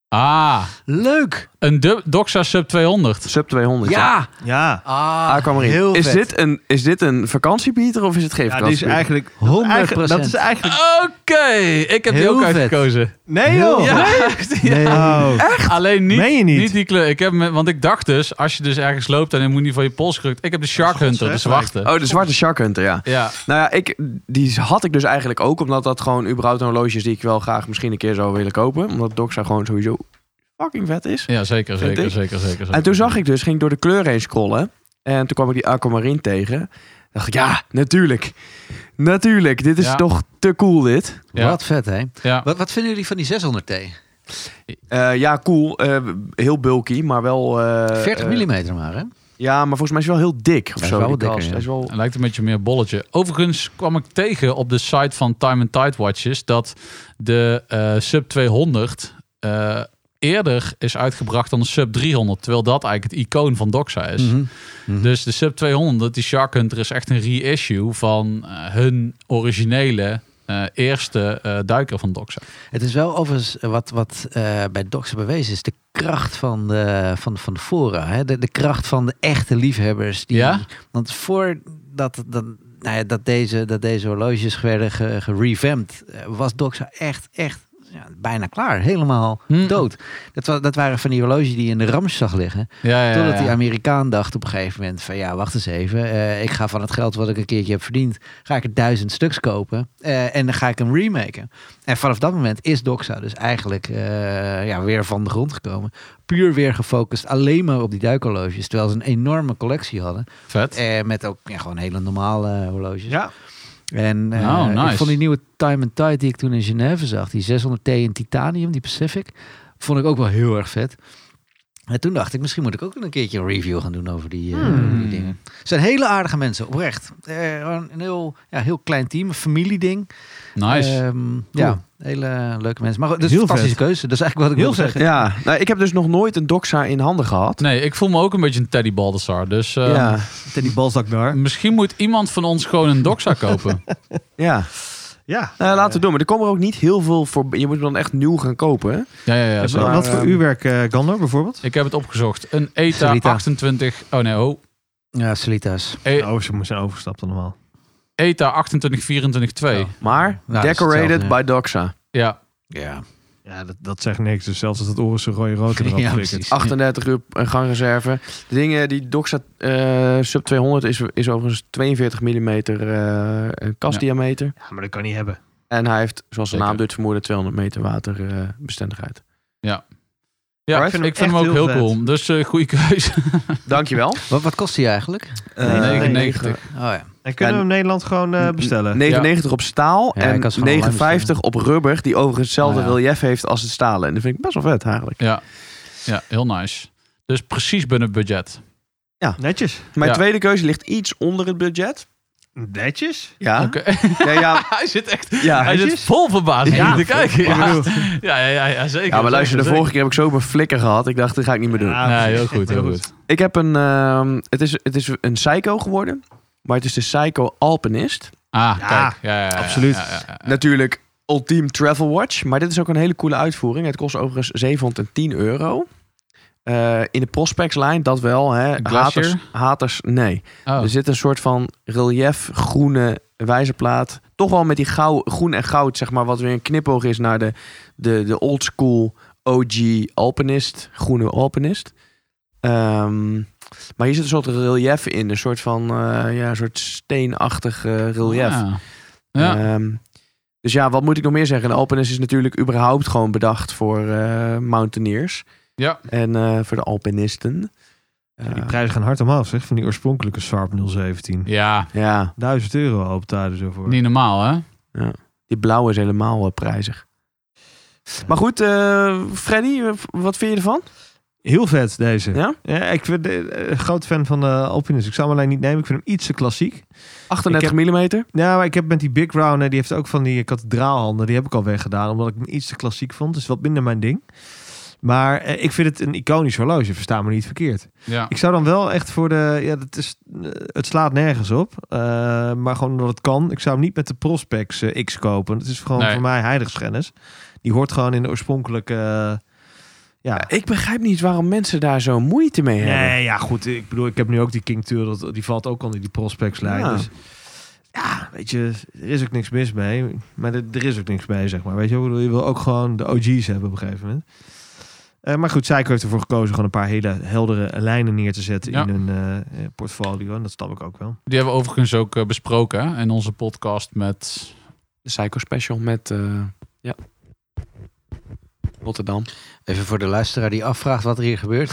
D: Ah,
E: Leuk!
D: een du- Doxa Sub 200.
A: Sub 200.
E: Ja!
B: Ja.
E: Ah,
A: Aquamarine.
E: Heel
A: is,
E: vet.
A: dit een, is dit een vakantiebieter of is het geen
B: Ja, die is
A: vakantiebieter?
B: eigenlijk...
E: 100%.
B: eigenlijk- Dat is eigenlijk...
D: Oké, ik heb die
E: Heel
D: ook
E: vet.
D: uitgekozen.
B: Nee
E: Heel
B: joh!
E: vet.
D: Ja, ja.
B: Nee. Oh.
D: [laughs] alleen niet,
B: Meen je niet?
D: niet die kleur. Ik heb, me- want ik dacht dus, als je dus ergens loopt en je moet niet van je pols gerukt. Ik heb de Shark
B: Gods,
D: Hunter,
B: hè?
D: de zwarte.
A: Oh, de zwarte Shark Hunter, ja.
D: Ja,
A: Nou ja, ik, die had ik dus eigenlijk ook, omdat dat gewoon überhaupt een horloge is die ik wel graag misschien een keer zou willen kopen. Omdat Doxa gewoon sowieso fucking vet is.
D: ja zeker,
A: Vind
D: zeker,
A: ik.
D: zeker, zeker, zeker.
A: En toen zag ik dus, ging ik door de kleur heen scrollen. En toen kwam ik die Aquamarine tegen. dacht ik, ja, natuurlijk. Natuurlijk, dit is
D: Ja.
A: toch te cool dit.
D: Ja.
E: Wat vet, hè?
D: Ja.
E: Wat, wat vinden jullie van die 600T?
A: Eh, ja, cool. eh, heel bulky, maar wel... eh,
E: 40
A: eh,
E: mm maar, hè?
A: Ja, maar volgens mij is hij wel heel dik. Of
E: Hij is
A: zo,
E: wel
A: die
E: wat dikker,
A: kast.
E: ja.
A: Hij is wel...
D: Het lijkt een beetje meer bolletje. Overigens kwam ik tegen op de site van Time and Tide Watches dat de eh, sub 200 eh, eerder is uitgebracht dan de sub 300, terwijl dat eigenlijk het icoon van Doxa is.
E: Mhm. Mhm.
D: Dus de sub 200, die Shark Hunter, is echt een reissue van eh, hun originele eh, eerste eh, duiker van Doxa.
E: Het is wel overigens eh, wat, wat eh, bij Doxa bewezen is. De kracht van de, van, van de fora. Hè? De, de kracht van de echte liefhebbers. Die,
D: Ja?
E: Want voordat dat, nou ja, dat, deze, dat deze horloges werden ge- gerevamped... eh, was Doxa echt, echt ja, bijna klaar. Helemaal
D: Hm.
E: dood. Dat, wa- dat waren van die horloges die je in de rams zag liggen.
D: Ja, ja,
E: Totdat die
D: ja.
E: Amerikaan dacht op een gegeven moment van ja, wacht eens even. eh, ik ga van het geld wat ik een keertje heb verdiend, ga ik er duizend stuks kopen eh, en dan ga ik hem remaken. En vanaf dat moment is Doxa dus eigenlijk eh, ja, weer van de grond gekomen. Puur weer gefocust alleen maar op die duikhorloges. Terwijl ze een enorme collectie hadden.
D: Vet.
E: Eh, met ook ja, gewoon hele normale eh, horloges.
B: Ja.
E: En eh,
D: Oh, nice.
E: ik vond die nieuwe Time and Tide die ik toen in Genève zag, die 600T in titanium, die Pacific, vond ik ook wel heel erg vet. En toen dacht ik, misschien moet ik ook een keertje een review gaan doen over die, eh,
D: Hmm.
E: die dingen. Het zijn hele aardige mensen, oprecht. Eh, gewoon een heel, ja, heel klein team, een familieding.
D: Nice.
E: Ehm, Ja, hele leuke mensen. Maar goed, dat is een
B: Heel
E: fantastische keuze. Dat is eigenlijk wat ik
B: Heel
E: wil zeggen.
A: Ja, nou, ik heb dus nog nooit een doxa in handen gehad.
D: nee, ik voel me ook een beetje een Teddy Baldassar. Dus eh,
A: ja,
B: Ten die balzak daar.
D: misschien moet iemand van ons gewoon een Doxa kopen.
A: ja.
B: Ja.
A: Nou, laten we doen. Maar er komen er ook niet heel veel voor. Je moet hem dan echt nieuw gaan kopen. hè?
D: ja, ja, ja.
B: Wat-
D: zeker.
A: maar,
B: wat voor
A: ehm,
B: uurwerk eh Gandor bijvoorbeeld?
D: Ik heb het opgezocht. Een ETA
E: Sarita.
D: 28... Oh nee, oh.
E: Ja, Salitas.
D: E-
B: Oh, ze zijn overgestapt allemaal.
D: ETA 28242.
E: Ja.
A: Maar
E: dat is
A: decorated
E: hetzelfde,
A: by Doxa.
D: Ja.
E: Ja,
B: Ja, dat, dat zegt niks. Dus zelfs als het Oris een rode [laughs] rood erop
E: ja
B: flikkert.
E: precies.
A: 38 uur een gangreserve. De dingen die Doxa eh, sub 200 is, is overigens 42 mm kastdiameter.
B: Ja, maar dat kan niet hebben.
A: En hij heeft, zoals de
D: Zeker.
A: naam doet vermoeden, 200 meter waterbestendigheid.
D: Ja,
A: Alright,
D: ik vind,
B: vind hem
D: hem ook
B: echt
D: heel
B: heel vet.
D: cool. Dus eh goede keuze.
A: Dankjewel.
E: Wat, wat kost die eigenlijk?
B: Eh,
D: 99.
E: Oh ja.
B: En kunnen we hem in Nederland gewoon eh, bestellen?
A: 99 op staal
E: Ja,
A: en
E: ik had ze gewoon online
A: 59 op rubber, die overigens hetzelfde
D: Ah, ja.
A: relief heeft als het stalen. En dat vind ik best wel vet eigenlijk.
D: Ja. ja, heel nice. Dus precies binnen het budget.
B: Netjes.
A: Mijn
D: Ja.
A: tweede keuze ligt iets onder het budget.
B: Netjes?
A: Ja.
D: Oké. [laughs]
A: Ja, [laughs] ja,
D: hij zit echt
A: ja.
D: hij zit vol verbazing
B: Ja.
D: ja. te kijken.
B: Ik
D: Ja.
B: bedoel-
D: Ja, ja, ja, ja, zeker.
A: Ja, maar luister, de
D: zeker,
A: vorige keer heb ik zo mijn flikker gehad. Ik dacht, dat ga ik niet meer doen.
B: Ja,
D: zeker. Nee, heel goed, heel goed.
A: Ik heb een... ehm, het, is, het is een Psycho geworden. Maar het is de Psycho Alpinist.
D: Ah,
B: Ja,
D: kijk. Ja, ja, ja,
B: absoluut.
D: ja, ja, ja.
A: Natuurlijk Ultime Travel Watch. Maar dit is ook een hele coole uitvoering. Het kost overigens 710 euro. Eh, in de Prospects lijn, dat wel. Hè.
D: Glacier?
A: Haters, haters, nee.
D: Oh,
A: Er zit een soort van relief groene wijzerplaat. Toch wel met die gauw, groen en goud, zeg maar. Wat weer een knipoog is naar de, de, de old school OG alpinist. Groene alpinist. Ehm, maar hier zit een soort relief in. Een soort van eh, ja, een soort steenachtig eh, relief.
D: ja. Ah, Ja.
A: Ehm, dus ja, wat moet ik nog meer zeggen? De alpinist is natuurlijk überhaupt gewoon bedacht voor eh, mountaineers.
D: Ja.
A: En eh, voor de alpinisten.
B: Die
A: Eh,
B: prijzen gaan hard omhoog, zeg. Van die oorspronkelijke Sarp 017.
D: ja,
A: ja,
B: 1000 euro hoopt daar dus over.
D: niet normaal, hè?
A: Die blauwe is helemaal eh, prijzig. Maar goed, eh, Freddy, eh, wat vind je ervan?
B: Heel vet, deze.
A: Ja?
B: ik ben eh, een groot fan van de Alpinist. Ik zou hem alleen niet nemen. Ik vind hem iets te klassiek.
A: 38
B: Ik
A: mm?
B: Ja, maar ik heb met die Big Round, hè, die heeft ook van die kathedraalhanden, die heb ik al weggedaan, omdat ik hem iets te klassiek vond. Dus wat minder mijn ding. Maar eh, ik vind het een iconisch horloge, versta me niet verkeerd.
D: Ja.
B: Ik zou dan wel echt voor de, ja, dat is, eh, het slaat nergens op, eh, maar gewoon omdat het kan. Ik zou hem niet met de Prospects eh, X kopen. Dat is gewoon
D: Nee.
B: voor mij heiligschennis. Die hoort gewoon in de oorspronkelijke, eh, ja.
A: Ik begrijp niet waarom mensen daar zo moeite mee hebben.
B: Nee, ja, goed. Ik bedoel, ik heb nu ook die King Tour, dat, die valt ook onder die prospectslijn.
A: Ja.
B: Dus ja, weet je, er is ook niks mis mee. Maar er, er is ook niks mee, zeg maar. Weet je, ik bedoel, je wil ook gewoon de OG's hebben op een gegeven moment. Eh, maar goed, Seiko heeft ervoor gekozen gewoon een paar hele heldere lijnen neer te zetten
D: Ja.
B: in hun eh, eh, portfolio. En dat snap ik ook wel.
D: Die hebben we overigens ook eh, besproken hè, in onze podcast met...
A: De Psycho Special met... eh, ja. Rotterdam.
E: Even voor de luisteraar die afvraagt wat er hier gebeurt.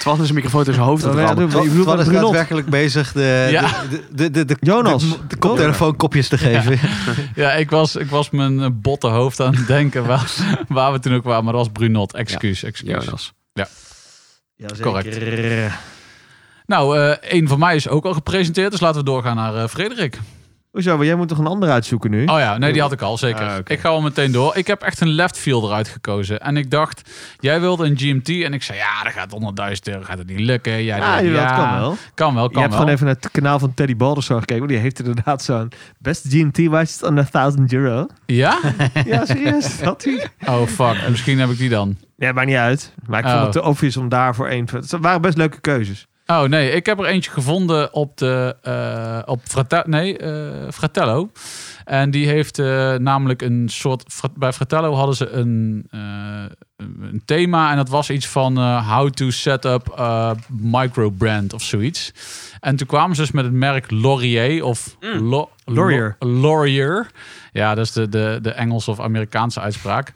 A: Twan is een microfoon tussen zijn hoofd aan
B: Wat
A: het
B: wij
A: rammen.
B: doen, je bedoelt
E: Twan
B: met
E: is
B: Brunot.
E: daadwerkelijk bezig de,
D: Ja.
E: de, de, de, de,
B: Jonas.
E: de, de koptelefoonkopjes te geven. [laughs]
D: Ja, ik was, ik was mijn eh, botte hoofd aan het denken waar, [laughs] waar we toen ook waren. Maar dat was Brunot. Excuus, excuus.
A: Jonas.
B: Ja,
D: Correct. Nou, eh één van mij is ook al gepresenteerd. Dus laten we doorgaan naar eh, Frederik.
B: Hoezo, maar jij moet toch een ander uitzoeken nu?
D: Oh ja, nee, die had ik al, zeker.
B: Hm? Ah, oké.
D: Ik ga al meteen door. Ik heb echt een left fielder uitgekozen. En ik dacht, jij wilde een GMT. En ik zei, ja, dat gaat onder 1000 euro. Gaat het niet lukken? Jij
B: ah,
D: dacht,
B: jawel, dat
D: ja,
B: kan wel.
D: Kan wel,
B: je
D: kan
B: hebt
D: wel.
B: gewoon even naar het kanaal van Teddy Baldersar gekeken. want Die heeft inderdaad zo'n best GMT watch on a 1000 euro.
D: Ja?
B: ja, [laughs] serieus. Dat hij.
D: Oh,
B: [laughs]
D: fuck. Misschien heb ik die dan.
B: Ja, maakt niet uit. Maar ik
D: Oh.
B: vond het te obvious om daarvoor één... Het waren best leuke keuzes.
D: Oh nee, ik heb er eentje gevonden op de eh, op Frate nee, eh, Fratello. En die heeft eh, namelijk een soort. Fra- Bij Fratello hadden ze een, eh, een thema. En dat was iets van eh, how to set up a microbrand of zoiets. En toen kwamen ze dus met het merk Laurier of Lo-
B: Laurier.
D: Lo- Laurier. Ja, dat is de, de, de Engelse of Amerikaanse uitspraak.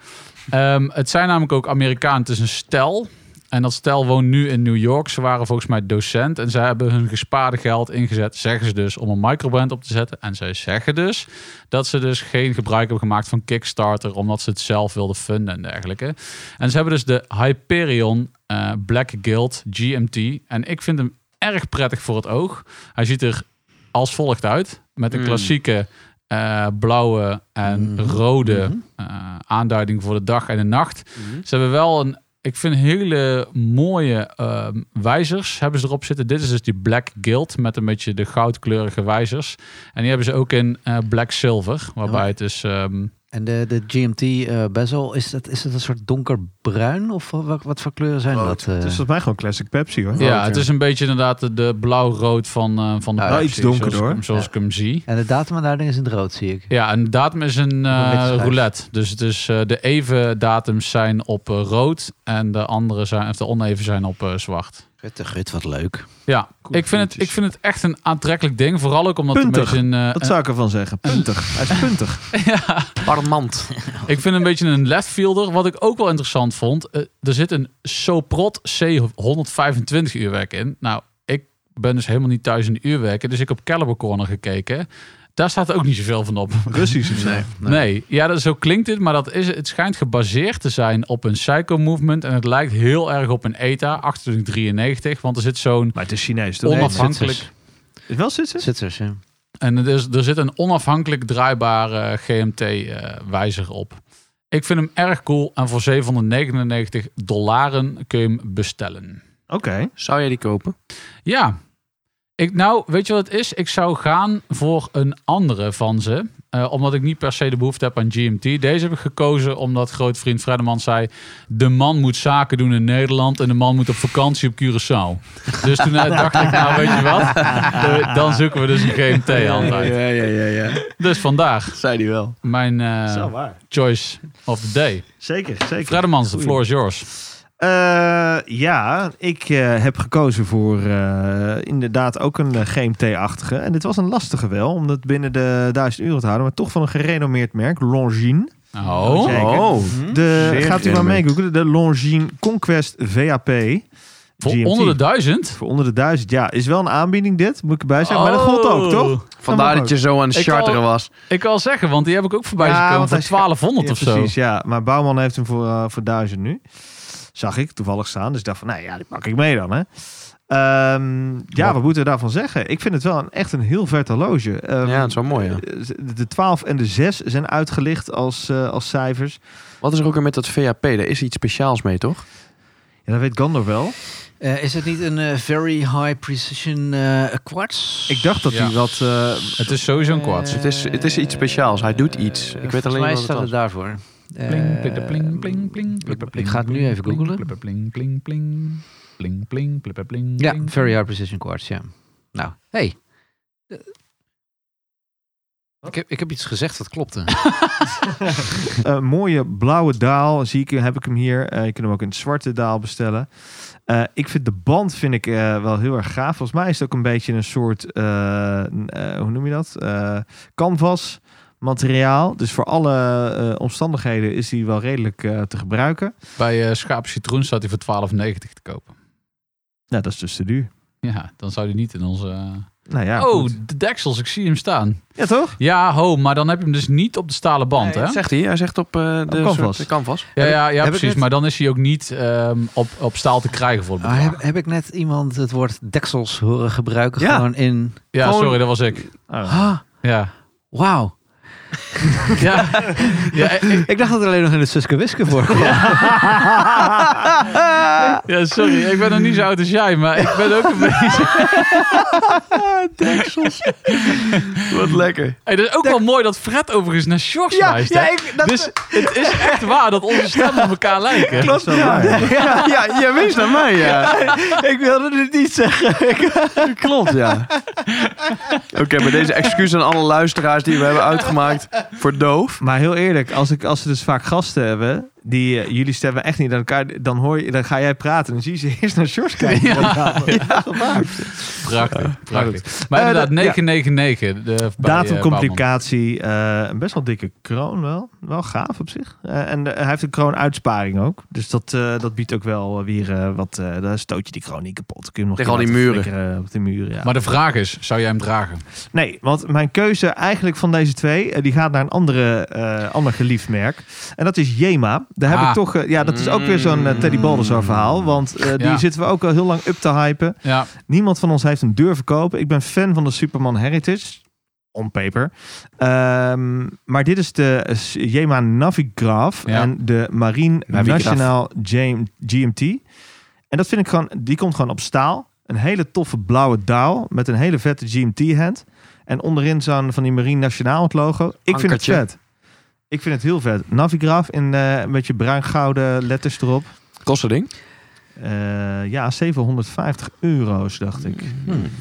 D: Ehm, het zijn namelijk ook Amerikanen. Het is een stel. En dat stel woont nu in New York. Ze waren volgens mij docent. En zij hebben hun gespaarde geld ingezet, zeggen ze dus, om een microbrand op te zetten. En zij zeggen dus dat ze dus geen gebruik hebben gemaakt van Kickstarter, omdat ze het zelf wilden funden en dergelijke. En ze hebben dus de Hyperion eh, Black Guild GMT. En ik vind hem erg prettig voor het oog. Hij ziet er als volgt uit. Met een
A: Mm.
D: klassieke eh, blauwe en
E: Mhm.
D: rode
E: Mhm.
D: eh, aanduiding voor de dag en de nacht. Ze hebben wel een, ik vind hele mooie ehm, wijzers hebben ze erop zitten. Dit is dus die Black Guild met een beetje de goudkleurige wijzers. En die hebben ze ook in eh, Black Silver, waarbij
B: Oh.
E: Ja.
D: het is... ehm,
E: En de, de GMT eh, bezel, is dat, is dat een soort donkerbruin? Of wa- wat, wat voor kleuren zijn dat? eh?
B: Het is volgens mij gewoon classic Pepsi, hoor.
D: ja, het is een beetje inderdaad de, de blauw-rood van, eh, van de
E: Nou,
B: wel
D: Pepsi,
B: iets donkerder,
D: zoals ik hem-
B: hoor.
D: Zoals
E: Ja.
D: ik hem zie.
E: En de datumaanduiding is in het rood, zie ik.
D: Ja, en de datum is een eh,
E: beetje schuif.
D: roulette. Dus, het is eh, de even datums zijn op eh, rood en de andere zijn, of de oneven zijn op eh, zwart.
E: Gut, gut, wat leuk.
D: Ja, ik vind, het,
B: puntjes.
D: ik vind het echt een aantrekkelijk ding. Vooral ook omdat het een
B: Puntig.
D: beetje een, eh,
B: Dat zou ik ervan zeggen. Puntig. Hij is puntig.
A: Parmant.
D: Ik vind een beetje een left fielder. Wat ik ook wel interessant vond. eh, er zit een Soprot C125 uurwerk in. Nou, ik ben dus helemaal niet thuis in de uurwerken. Dus ik heb Caliber Corner gekeken. Daar staat ook niet zoveel van op.
B: [laughs] Russisch of zo.
D: [laughs] Nee, ja, dat, zo klinkt het. Maar dat is, het schijnt gebaseerd te zijn op een Psycho Movement. En het lijkt heel erg op een ETA 2893. Want er zit zo'n
B: Maar het is Chinees, toch?
E: Onaf-
D: onafhankelijk...
E: Zwitsers.
B: Is het wel Zwitsers?
E: Zwitsers, ja.
D: En het is, er zit een onafhankelijk draaibare eh, GMT-wijzer op. Ik vind hem erg cool en voor 799 dollaren kun je hem bestellen.
B: Oké.
A: Zou jij die kopen?
D: Ja, ik, nou, weet je wat het is? Ik zou gaan voor een andere van ze. eh, omdat ik niet per se de behoefte heb aan GMT. Deze heb ik gekozen omdat grootvriend Fredderman zei... de man moet zaken doen in Nederland en de man moet op vakantie op Curaçao. Dus toen eh, dacht ik, nou weet je wat?
A: [laughs]
D: Eh, dan zoeken we dus een GMT altijd.
A: ja, ja, ja.
E: [laughs]
D: Dus vandaag
A: Zei die wel.
D: mijn eh,
B: Zo waar.
D: choice of the day.
B: Zeker, zeker.
D: Fredemans, the
B: Goeie.
D: floor is yours.
B: Eh, ja, ik eh, heb gekozen voor eh, inderdaad ook een eh, GMT-achtige. En dit was een lastige wel, om dat binnen de 1000 euro te houden. Maar toch van een gerenommeerd merk, Longines.
D: Oh,
B: Zeker.
A: Oh.
B: De,
A: Zeer
B: gaat u maar
A: gerenommeerd.
B: meegoogelen, de Longines Conquest VAP.
D: voor
B: GMT.
D: onder de duizend?
B: Voor onder de 1000, ja. Is wel een aanbieding dit, moet ik erbij zeggen.
D: Oh.
B: Maar dat gold ook, toch?
A: Vandaar
B: ook.
A: dat je zo aan het
D: Ik
A: charteren
D: al-
A: was.
D: Ik kan zeggen, want die heb ik ook voorbij
B: Ja,
D: gekomen
B: want
D: voor
B: hij scha-
D: 1200
B: Ja,
D: of zo.
B: Precies, ja. Maar Bouwman heeft hem voor, eh, voor 1000 nu. Zag ik toevallig staan. Dus ik dacht van, nou ja, die pak ik mee dan, hè. Ehm, ja,
D: Wat?
B: wat moeten we daarvan zeggen? Ik vind het wel een, echt een heel vet horloge. Ehm,
A: Ja, dat is wel mooi, ja.
B: de- De 12 en de 6 zijn uitgelicht als, eh, als cijfers.
A: Wat is er ook weer met dat VAP? Daar is iets speciaals mee, toch?
B: Ja, dat weet Gandor wel.
E: Eh, is het niet een eh, very high precision eh quartz?
B: Ik dacht dat
D: Ja.
B: hij wat... eh,
D: Het is sowieso een kwads.
A: Eh, Het is- het is iets speciaals. Hij doet iets. Ik weet
E: Volgens
A: alleen
E: mij
A: wat het
E: staat
A: was.
E: het daarvoor. Eh,
D: Pling, pling, pling, pling, pling, pling,
E: Ik ga het nu
D: pling,
E: even
D: pling,
E: googlen.
D: pling, pling, pling, pling, pling, pling, pling, pling,
E: Ja,
D: pling.
E: very high precision quartz, ja. Nou, hey. Eh, Ik heb, ik heb iets gezegd dat klopte.
B: Eh, mooie blauwe daal zie ik, heb ik hem hier. Eh, je kunt hem ook in het zwarte daal bestellen. Eh, ik vind de band vind ik, eh, wel heel erg gaaf. Volgens mij is het ook een beetje een soort, eh, n- eh, hoe noem je dat? Eh, canvas. materiaal. Dus voor alle eh, omstandigheden is die wel redelijk eh, te gebruiken.
D: Bij eh Schaap Citroen staat hij voor 12,90 te kopen.
B: Nou, dat is dus te duur.
D: Ja, dan zou hij niet in onze... eh,
B: Nou ja,
D: oh,
B: goed.
D: de deksels, ik zie hem staan.
B: ja toch?
D: Ja, ho, maar dan heb je hem dus niet op de stalen band,
A: Nee,
D: hè?
A: dat zegt hij. Hij zegt op eh, de
B: canvas.
A: soort- de canvas.
D: Ja, ja, ja
E: heb ik
D: precies.
E: net-
D: Maar dan is hij ook niet ehm, op, op staal te krijgen voor het
E: Ah,
D: bedrag.
E: heb, heb ik net iemand het woord deksels horen gebruiken?
A: Ja.
E: Gewoon in.
D: Ja,
A: gewoon-
D: sorry, dat was ik.
B: Oh.
E: Ah,
D: Ja.
E: wauw.
D: Ja. ja, ik-
E: Ik dacht dat er alleen nog in het Suske Wiske
A: [laughs]
E: voor kwam.
D: ja, sorry. Ik ben nog niet zo oud als jij, maar ik ben ook een beetje...
A: Wat lekker.
D: Hey, dat is ook wel mooi dat Fred overigens naar Sjors
A: Ja,
D: wijst,
A: ja,
D: hè?
A: ik, dat
D: Dus het is echt waar dat onze stemmen op elkaar lijken.
A: klopt.
B: wel
A: Ja, ja,
B: waar. [laughs]
A: ja, jij wees naar mij, ja. [laughs]
E: ik wilde het niet zeggen.
B: [laughs]
A: Klopt, ja. [laughs] Oké, maar deze excuus aan alle luisteraars die we hebben uitgemaakt voor doof.
B: Maar heel eerlijk, als, ik, als ze dus vaak gasten hebben, die eh, jullie stemmen echt niet aan elkaar, dan, hoor je, dan ga jij praten en dan zie je ze [laughs] eerst naar George kijken. Ja.
D: Prachtig, prachtig. Maar inderdaad,
B: Eh, dat-
D: 999. De, bij, eh, Bouwman.
B: Datumcomplicatie, eh, een best wel dikke kroon wel. Wel gaaf op zich. Eh, en eh, hij heeft een kroonuitsparing ook. Dus dat, eh, dat biedt ook wel weer eh, wat... eh daar stoot je die kroon niet kapot. Kun je hem nog
A: Tegen
B: een keer
A: al die
B: laten
A: muren.
B: flikkeren Op de muren, ja.
D: Maar de vraag is, zou jij hem dragen?
B: Nee, want mijn keuze eigenlijk van deze twee, eh, die gaat naar een andere, eh, ander geliefd merk. En dat is Jema. Daar heb
D: Ah.
B: ik toch, eh, ja, dat is ook weer zo'n eh, Teddy Baldassar verhaal. Want eh, die
D: Ja.
B: zitten we ook al heel lang up te hypen.
D: Ja,
B: Niemand van ons heeft hem durven kopen. Ik ben fan van de Superman Heritage. On paper. Ehm, maar dit is de eh, S- Jema Navigraf
D: Ja.
B: en de Marine
A: Navigraaf.
B: Nationaal Jam- GMT. En dat vind ik gewoon, die komt gewoon op staal. Een hele toffe blauwe daal met een hele vette GMT-hand. En onderin zo'n van die Marine Nationaal het logo. Ik vind het
A: Ankertje.
B: vet. Ik vind het heel vet. Navigraf in eh, een beetje bruin-gouden letters erop.
A: Kost dat ding?
B: Eh, ja, 750 euro's dacht ik.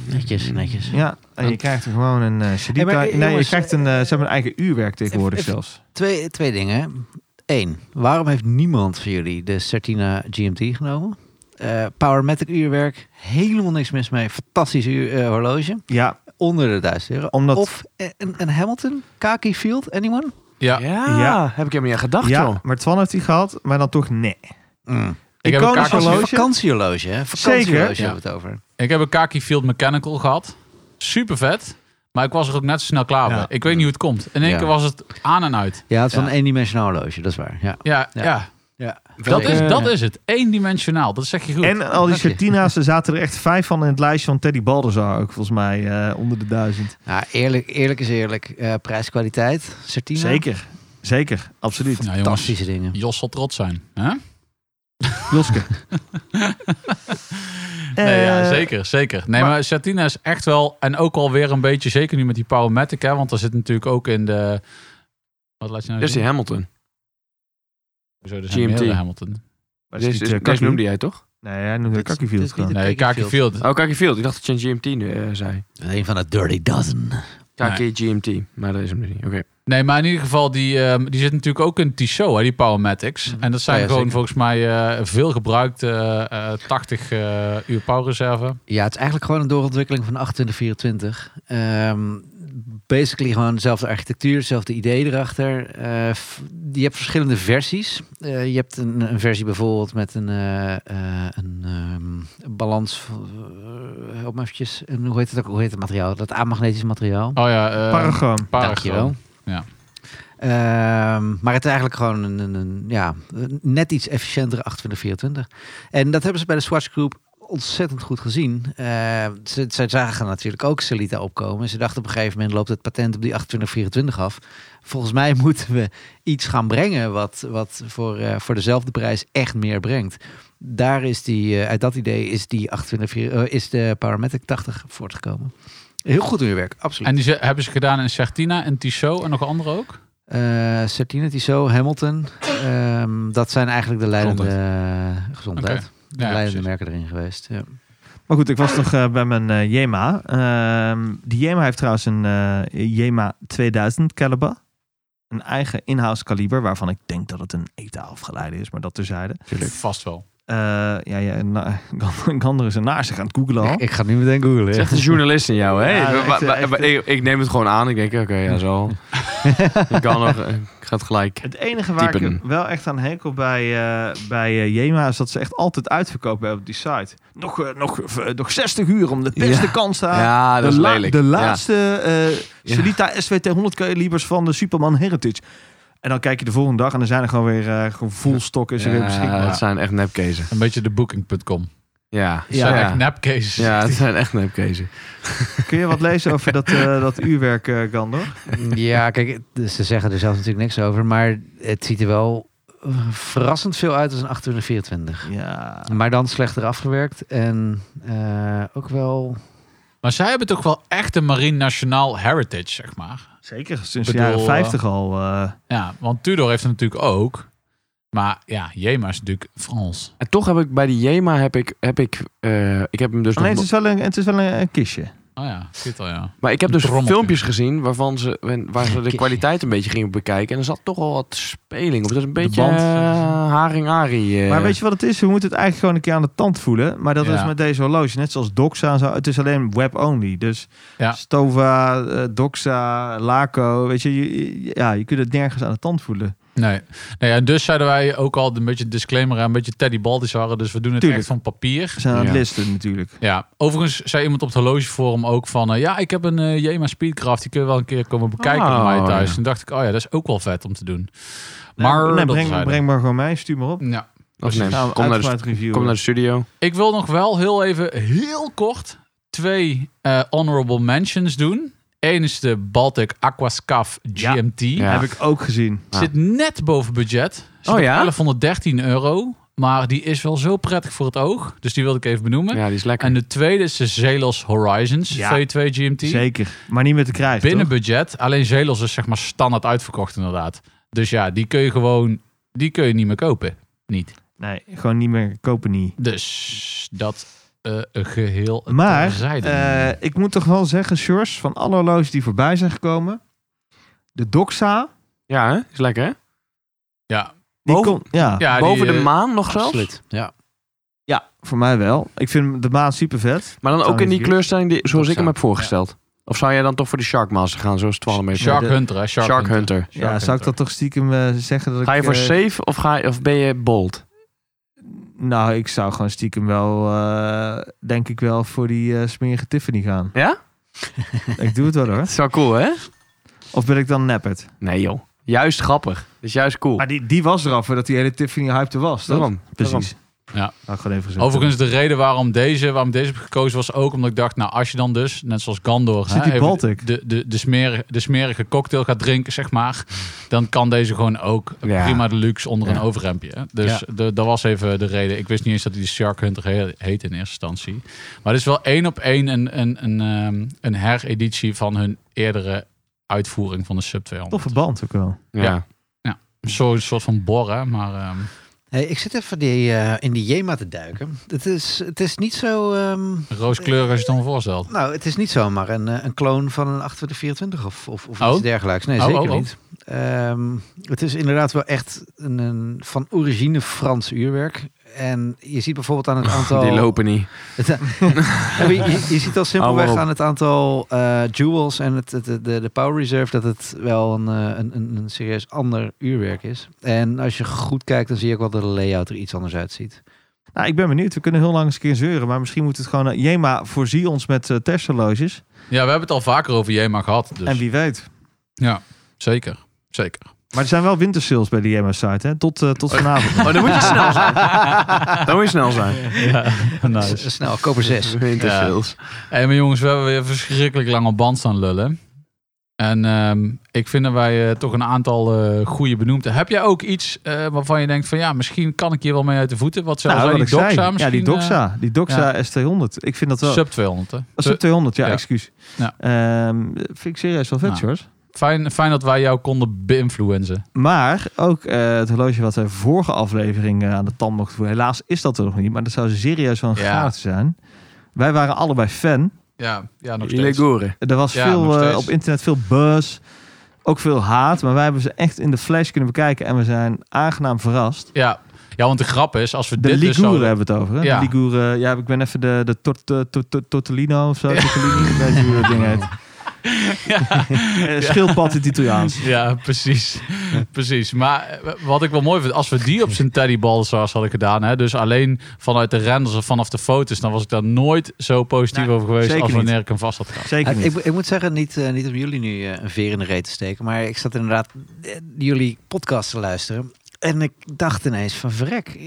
E: Netjes, netjes.
B: Ja, en je krijgt er gewoon een eh CD.
E: Hey, maar, eh,
B: nee, je
E: jongens,
B: krijgt een, eh, ze hebben een eigen uurwerk tegenwoordig
E: even-
B: zelfs.
E: Twee, twee dingen. Eén, waarom heeft niemand van jullie de Certina GMT genomen? Eh Powermatic uurwerk, helemaal niks mis mee. Fantastisch uur, eh, horloge.
B: Ja,
E: Onder de 1000 euro.
B: Omdat-
E: Of eh, een, een Hamilton, Kaki Field, anyone?
D: ja.
B: Ja.
A: heb ik helemaal niet aan gedacht, joh.
B: ja maar Twan heeft die gehad, maar dan toch nee.
E: Mm.
D: Ik heb, een
B: Iconisch
D: Kaki,
B: horloge.
E: Vakantiehorloge, hè? Vakantiehorloge
D: Zeker.
E: hebben we het over.
D: ik heb een Kaki Field Mechanical gehad. Super vet. Maar ik was er ook net zo snel klaar
B: Ja.
D: mee. Ik weet niet hoe het komt. In één
E: Ja.
D: keer was het aan en uit.
E: Ja, het is
B: Ja.
E: van een eendimensionaal horloge, dat is waar. Ja.
D: Ja, ja.
E: Ja. Ja.
D: Dat, is,
A: Welke-
D: dat is het. Eendimensionaal. Dat zeg je goed.
B: En al die
E: Dank je.
B: Certina's, er zaten er echt vijf van in het lijstje van Teddy Baldassar ook, volgens mij, eh, onder de duizend.
E: Nou, eerlijk, eerlijk is eerlijk. Eh, Prijs-kwaliteit, Certina.
B: Zeker, zeker,
E: [laughs]
B: absoluut.
D: nou, jongens,
E: Fantastische dingen.
D: Jos zal trots zijn. hè?
E: Eh.
B: Joske.
D: Nee, ja,
B: Eh,
D: zeker, zeker. Nee, maar,
B: maar-
D: Satina is echt wel... En ook alweer een beetje, zeker nu met die Powermatic, hè. Want daar zit natuurlijk ook in de... Wat laat je nou
A: Dit is die
D: zien?
A: Hamilton.
D: Zo, er zijn
A: GMT.
D: meerdere Hamilton.
B: maar
A: Deze,
B: is niet, eh,
A: deze
B: Kakkie.
A: noemde jij toch?
B: Nee, hij noemde
E: Dit is- dit
B: Kakkieveld
E: is niet
B: gewoon.
E: de-
D: Nee,
E: Kaki
D: Kaki Field.
A: Oh, Kaki Field. Ik dacht dat je een GMT nu, eh, zei.
E: Een van de Dirty Dozen.
A: Kaki GMT. Maar dat is hem dus niet. Oké.
D: Nee, maar in ieder geval, die, ehm, die zit natuurlijk ook in Tissot, hè, die Powermatics. En dat zijn
E: Mhm. Ja, ja,
D: gewoon
E: zeker.
D: volgens mij eh, veel gebruikt eh, eh, 80 eh, uur powerreserve.
E: Ja, het is eigenlijk gewoon een doorontwikkeling van 2824. Ehm basically gewoon dezelfde architectuur, hetzelfde idee erachter. Eh, f- je hebt verschillende versies. Eh, je hebt een, een versie bijvoorbeeld met een, eh, eh, een ehm, balans... van- eh, om eventjes... Een, hoe heet het ook? Hoe heet het materiaal? Dat amagnetisch materiaal.
D: Oh ja, eh
B: Paragoon.
D: Paragon.
E: Dankjewel.
D: Ja.
E: Ehm, maar het is eigenlijk gewoon een, een, een, ja, een net iets efficiëntere 2824. En dat hebben ze bij de Swatch Group ontzettend goed gezien. Eh, ze, ze zagen natuurlijk ook Celita opkomen. Ze dachten op een gegeven moment loopt het patent op die 2824 af. Volgens mij [laughs] moeten we iets gaan brengen wat, wat voor, eh, voor dezelfde prijs echt meer brengt. Daar is die, eh, uit dat idee is, die 2824, eh, is de Paramatic 80 voortgekomen. Heel goed uurwerk, absoluut.
D: En die ze- hebben ze gedaan in Certina, in Tissot en nog andere ook.
E: Eh Certina Tissot, Hamilton. Ehm, dat zijn eigenlijk de leidende gezondheid. De
D: Ja,
E: leidende
D: precies.
E: merken erin geweest. Ja.
B: Maar goed, ik was nog eh, bij mijn eh, Jema. Ehm, die Jema heeft trouwens een eh, Jema 2000 caliber. Een eigen in-house kaliber, waarvan ik denk dat het een ETA afgeleide is, maar dat terzijde.
D: Vast wel.
B: Eh ja, ja na, [laughs] Gander is een naast aan het googelen al.
E: Ik, ik ga nu meteen googlen.
A: Het is
E: ja.
A: echt een journalist in jou, hè?
B: Ja,
A: Wa- wa-
B: echt,
A: wa-
B: echt. [laughs]
A: ik, ik neem het gewoon aan. Ik denk, oké, ja, zo. Garner eh, gaat gelijk.
B: Het enige waar ik
A: Typen.
B: wel echt aan hekel bij, eh, bij eh, Jema is dat ze echt altijd uitverkoop hebben op die site. Nog, eh, nog, eh, nog 60 uur om de beste
A: Ja.
B: kans te halen.
A: Ja, Ah, dat
B: de,
A: is
B: la-
A: lelijk.
B: de
A: Ja.
B: laatste eh
A: Ja.
B: Solita SWT 100 kalibers van de Superman Heritage. En dan kijk je de volgende dag en dan zijn er gewoon weer eh, gewoon full stock is er weer
A: Ja,
B: beschikbaar.
A: het zijn echt nepkezen.
D: Een beetje de booking.com.
A: Ja,
D: Ja, zijn echt
A: ja.
D: nepcases.
A: Ja, het zijn echt nepkezen.
B: [laughs] Kun je wat lezen over dat,
A: [laughs]
B: eh, dat uurwerk, eh Gandor?
E: [laughs] Ja, kijk, het- ze zeggen er zelf natuurlijk niks over, maar het ziet er wel eh, verrassend veel uit als een 824.
B: Ja.
D: Ah.
E: Maar dan slechter afgewerkt en eh, ook wel...
D: Maar zij hebben toch wel echt een Marine Nationaal Heritage, zeg maar.
B: Zeker, sinds
D: Bedoel,
B: de jaren
D: eh,
B: 50 al. eh,
D: Ja, want Tudor heeft het natuurlijk ook. Maar ja, Jema is natuurlijk Frans.
A: En toch heb ik bij die Jema heb ik, heb ik, eh, ik heb hem dus
B: alleen
A: nog,
B: het is wel een, het is wel een, een kistje.
D: Oh ja, zit al ja.
A: maar ik heb dus
D: trommeltje.
A: filmpjes gezien waarvan ze, waar ze de kwaliteit een beetje gingen bekijken en er zat toch al wat speling op. Dat is een beetje eh,
D: band.
A: haring eh, Ari.
B: Maar weet je wat het is? We moeten het eigenlijk gewoon een keer aan de tand voelen. Maar dat
D: Ja.
B: is met deze horloge. Net zoals Doxa en zo. Het is alleen web-only. Dus
D: Ja.
B: Stova, eh, Doxa, Laco. Weet je, je- je- ja, je kunt het nergens aan de tand voelen.
D: Nee. nee. En dus zeiden wij ook al een beetje disclaimer aan, een beetje Teddy Baldissaren. Dus we doen het
B: Tuurlijk.
D: echt van papier.
B: Ze zijn aan
A: Ja.
B: het listen natuurlijk.
D: Ja, overigens zei iemand op het horlogeforum ook van... eh, ja, ik heb een eh, Jema Speedcraft, die kun je wel een keer komen bekijken
B: Ah.
D: bij mij
A: Oh,
D: thuis.
A: ja.
D: Toen dacht ik, oh ja, dat is ook wel vet om te doen. Maar
B: nee,
D: dat
B: breng,
D: zeiden-
B: breng maar gewoon mij. Stuur maar op.
D: Ja.
A: Of
D: precies.
A: nee,
B: Gaan we
A: kom, naar de,
B: uitgebreid reviewen.
A: kom naar de studio.
D: Ik wil nog wel heel even, heel kort, twee eh, honorable mentions doen. Eén is de Baltic Aquascaf
B: Ja.
D: GMT.
A: Ja.
B: Heb ik ook gezien.
D: Zit net boven budget. Zit
A: Oh
D: op
A: ja?
D: 1113 euro. Maar die is wel zo prettig voor het oog. Dus die wilde ik even benoemen.
A: Ja, die is lekker.
D: En de tweede is de Zelos Horizons
B: Ja.
D: V2 GMT.
B: Zeker. Maar niet meer te krijgen.
D: Binnen
B: toch?
D: budget. Alleen Zelos is zeg maar standaard uitverkocht inderdaad. Dus ja, die kun je gewoon... Die kun je niet meer kopen. Niet.
B: Nee, gewoon niet meer kopen niet.
D: Dus dat eh, geheel
B: Maar
D: terzijde.
B: eh, ik moet toch wel zeggen, Sjors, van alle horloges die voorbij zijn gekomen. De Doxa.
A: Ja, hè? is lekker hè?
D: ja.
B: Die
A: Boven-
B: komt, ja.
D: ja, die,
A: Boven de
D: eh,
A: maan nog zelfs?
E: Absoluut, ja.
B: ja, voor mij wel. Ik vind de maan super vet.
A: Maar dan
B: Zou
A: ook in die
B: ik-
A: kleurstelling die, zoals ik hem
D: zou-
A: heb voorgesteld. Of zou jij dan toch voor de Sharkmaster gaan, zoals 12 meter?
D: Shark
B: de-
D: Hunter, hè? Shark,
A: Shark
D: Hunter.
A: Hunter.
B: ja, zou ik dat toch stiekem eh, zeggen dat
A: Ga je
B: ik...
A: voor
B: eh,
A: safe of, ga je, of ben je bold?
B: Nou, ik zou gewoon stiekem wel, eh, denk ik wel, voor die eh, smerige Tiffany gaan.
A: Ja?
B: ik doe het wel hoor.
A: Dat is wel cool, hè?
B: Of ben ik dan neppert?
A: Nee, joh. Juist grappig. Dat is juist cool.
B: Maar die, die was eraf voordat die hele Tiffany hype er was, toch?
A: Daarom.
B: Precies.
D: Ja.
B: Nou, gewoon even gezegd.
D: Overigens, de reden waarom deze, waarom deze heb gekozen was ook omdat ik dacht, nou, als je dan dus, net zoals Gandor,
B: Zit die
D: even
B: Baltic?
D: De, de, de, smerige, de smerige cocktail gaat drinken, zeg maar, dan kan deze gewoon ook
A: Ja.
D: prima de luxe onder
A: Ja.
D: een overhemdje. hè. Dus de, dat was even de reden. Ik wist niet eens dat hij de Shark Hunter he- heet in eerste instantie. Maar het is wel één op één een, een, een, ehm, een hereditie van hun eerdere uitvoering van de Sub 200.
B: Toffe band ook wel.
A: Ja.
D: Ja. Zo'n soort van borren, maar ehm,
E: Hey, ik zit even die, eh, in die Jema te duiken. Het is, het is niet zo... ehm,
D: rooskleurig als je het dan voorstelt.
E: Nou, het is niet zomaar een, eh, een kloon van een 2824 of, of, of
D: Oh.
E: iets dergelijks. Nee,
D: Oh,
E: zeker
D: oh, oh.
E: niet. Ehm, het is inderdaad wel echt een, een van origine Frans uurwerk. En je ziet bijvoorbeeld aan het aantal...
A: Oh, Die lopen niet.
E: [laughs] Ja, maar je, je ziet al simpelweg
A: waarom?
E: aan het aantal eh, jewels en het, het- de, de power reserve dat het wel een, eh, een, een, een serieus ander uurwerk is. En als je goed kijkt, dan zie je ook wel dat de layout er iets anders uitziet.
B: Nou, ik ben benieuwd. We kunnen heel lang eens een keer zeuren, maar misschien moet het gewoon... eh, Jema, voorzie ons met eh testhorloges.
D: Ja, we hebben het al vaker over Jema gehad. Dus.
B: En wie weet.
D: Ja, zeker. Zeker.
B: [laughs] Maar er zijn wel wintersales bij de Jema-site, hè? Tot, eh,
D: [laughs]
B: tot vanavond.
A: Oh, dan moet je snel zijn. [laughs] Dan moet je snel zijn.
E: S- Snel, koper 6.
A: Winter sales.
D: Hé, maar jongens, we hebben weer verschrikkelijk lang op band staan lullen. En ehm, ik vind dat wij eh, toch een aantal eh goede benoemd. hebben. Heb jij ook iets eh, waarvan je denkt van ja, misschien kan ik hier wel mee uit de voeten? Wat zou
B: Nou,
D: zijn
B: wat
D: die
B: ik zei.
D: doxa
B: Ja,
D: misschien?
B: die Doxa. Die Doxa S200. Ik vind dat
D: eh,
B: wel...
D: sub 200. Hè?
B: Oh, Sub
D: Te-
B: 200, ja,
D: ja.
B: excuus.
D: Ja.
B: Ehm, vind ik serieus wel vet,
D: Nou.
B: George.
D: fijn, fijn dat wij jou konden beïnfluenzen.
B: Maar ook eh, het horloge wat de vorige aflevering eh, aan de tand mocht voeren. Helaas is dat er nog niet, maar dat zou serieus wel een
D: Ja.
B: gaaf zijn. Wij waren allebei fan.
D: Ja, ja nog
A: Die
D: steeds.
A: legoren.
B: Er was
D: Ja, nog
B: veel eh,
D: steeds.
B: op internet, veel buzz. Ook veel haat, maar wij hebben ze echt in de flash kunnen bekijken en we zijn aangenaam verrast.
D: Ja. ja, want de grap is, als we
B: De
D: dit dus
B: Ligure
D: zouden...
B: hebben we het over. Hè?
D: Ja.
B: De
D: [laughs]
B: Ligure, ja, ik ben even de, de tort, eh, tort- tort- Tortellino of zo. Tortellini, ik weet niet hoe dat ding heet. Eh, Schildpad in het Italiaans.
D: Ja, precies. precies. Maar eh, wat ik wel mooi vind, als we die op zijn Teddy Balsars hadden gedaan, hè, dus alleen vanuit de renders of vanaf de foto's, dan was ik daar nooit zo positief
B: Nee,
D: over geweest
B: zeker
D: als
B: niet.
D: wanneer ik hem vast had gehad.
B: Zeker
E: Ja,
B: niet.
E: ik, moet- ik moet zeggen, niet, eh, niet om jullie nu eh, een veer in de reet te steken, maar ik zat inderdaad eh, jullie podcast te luisteren. En ik dacht ineens van verrek, eh,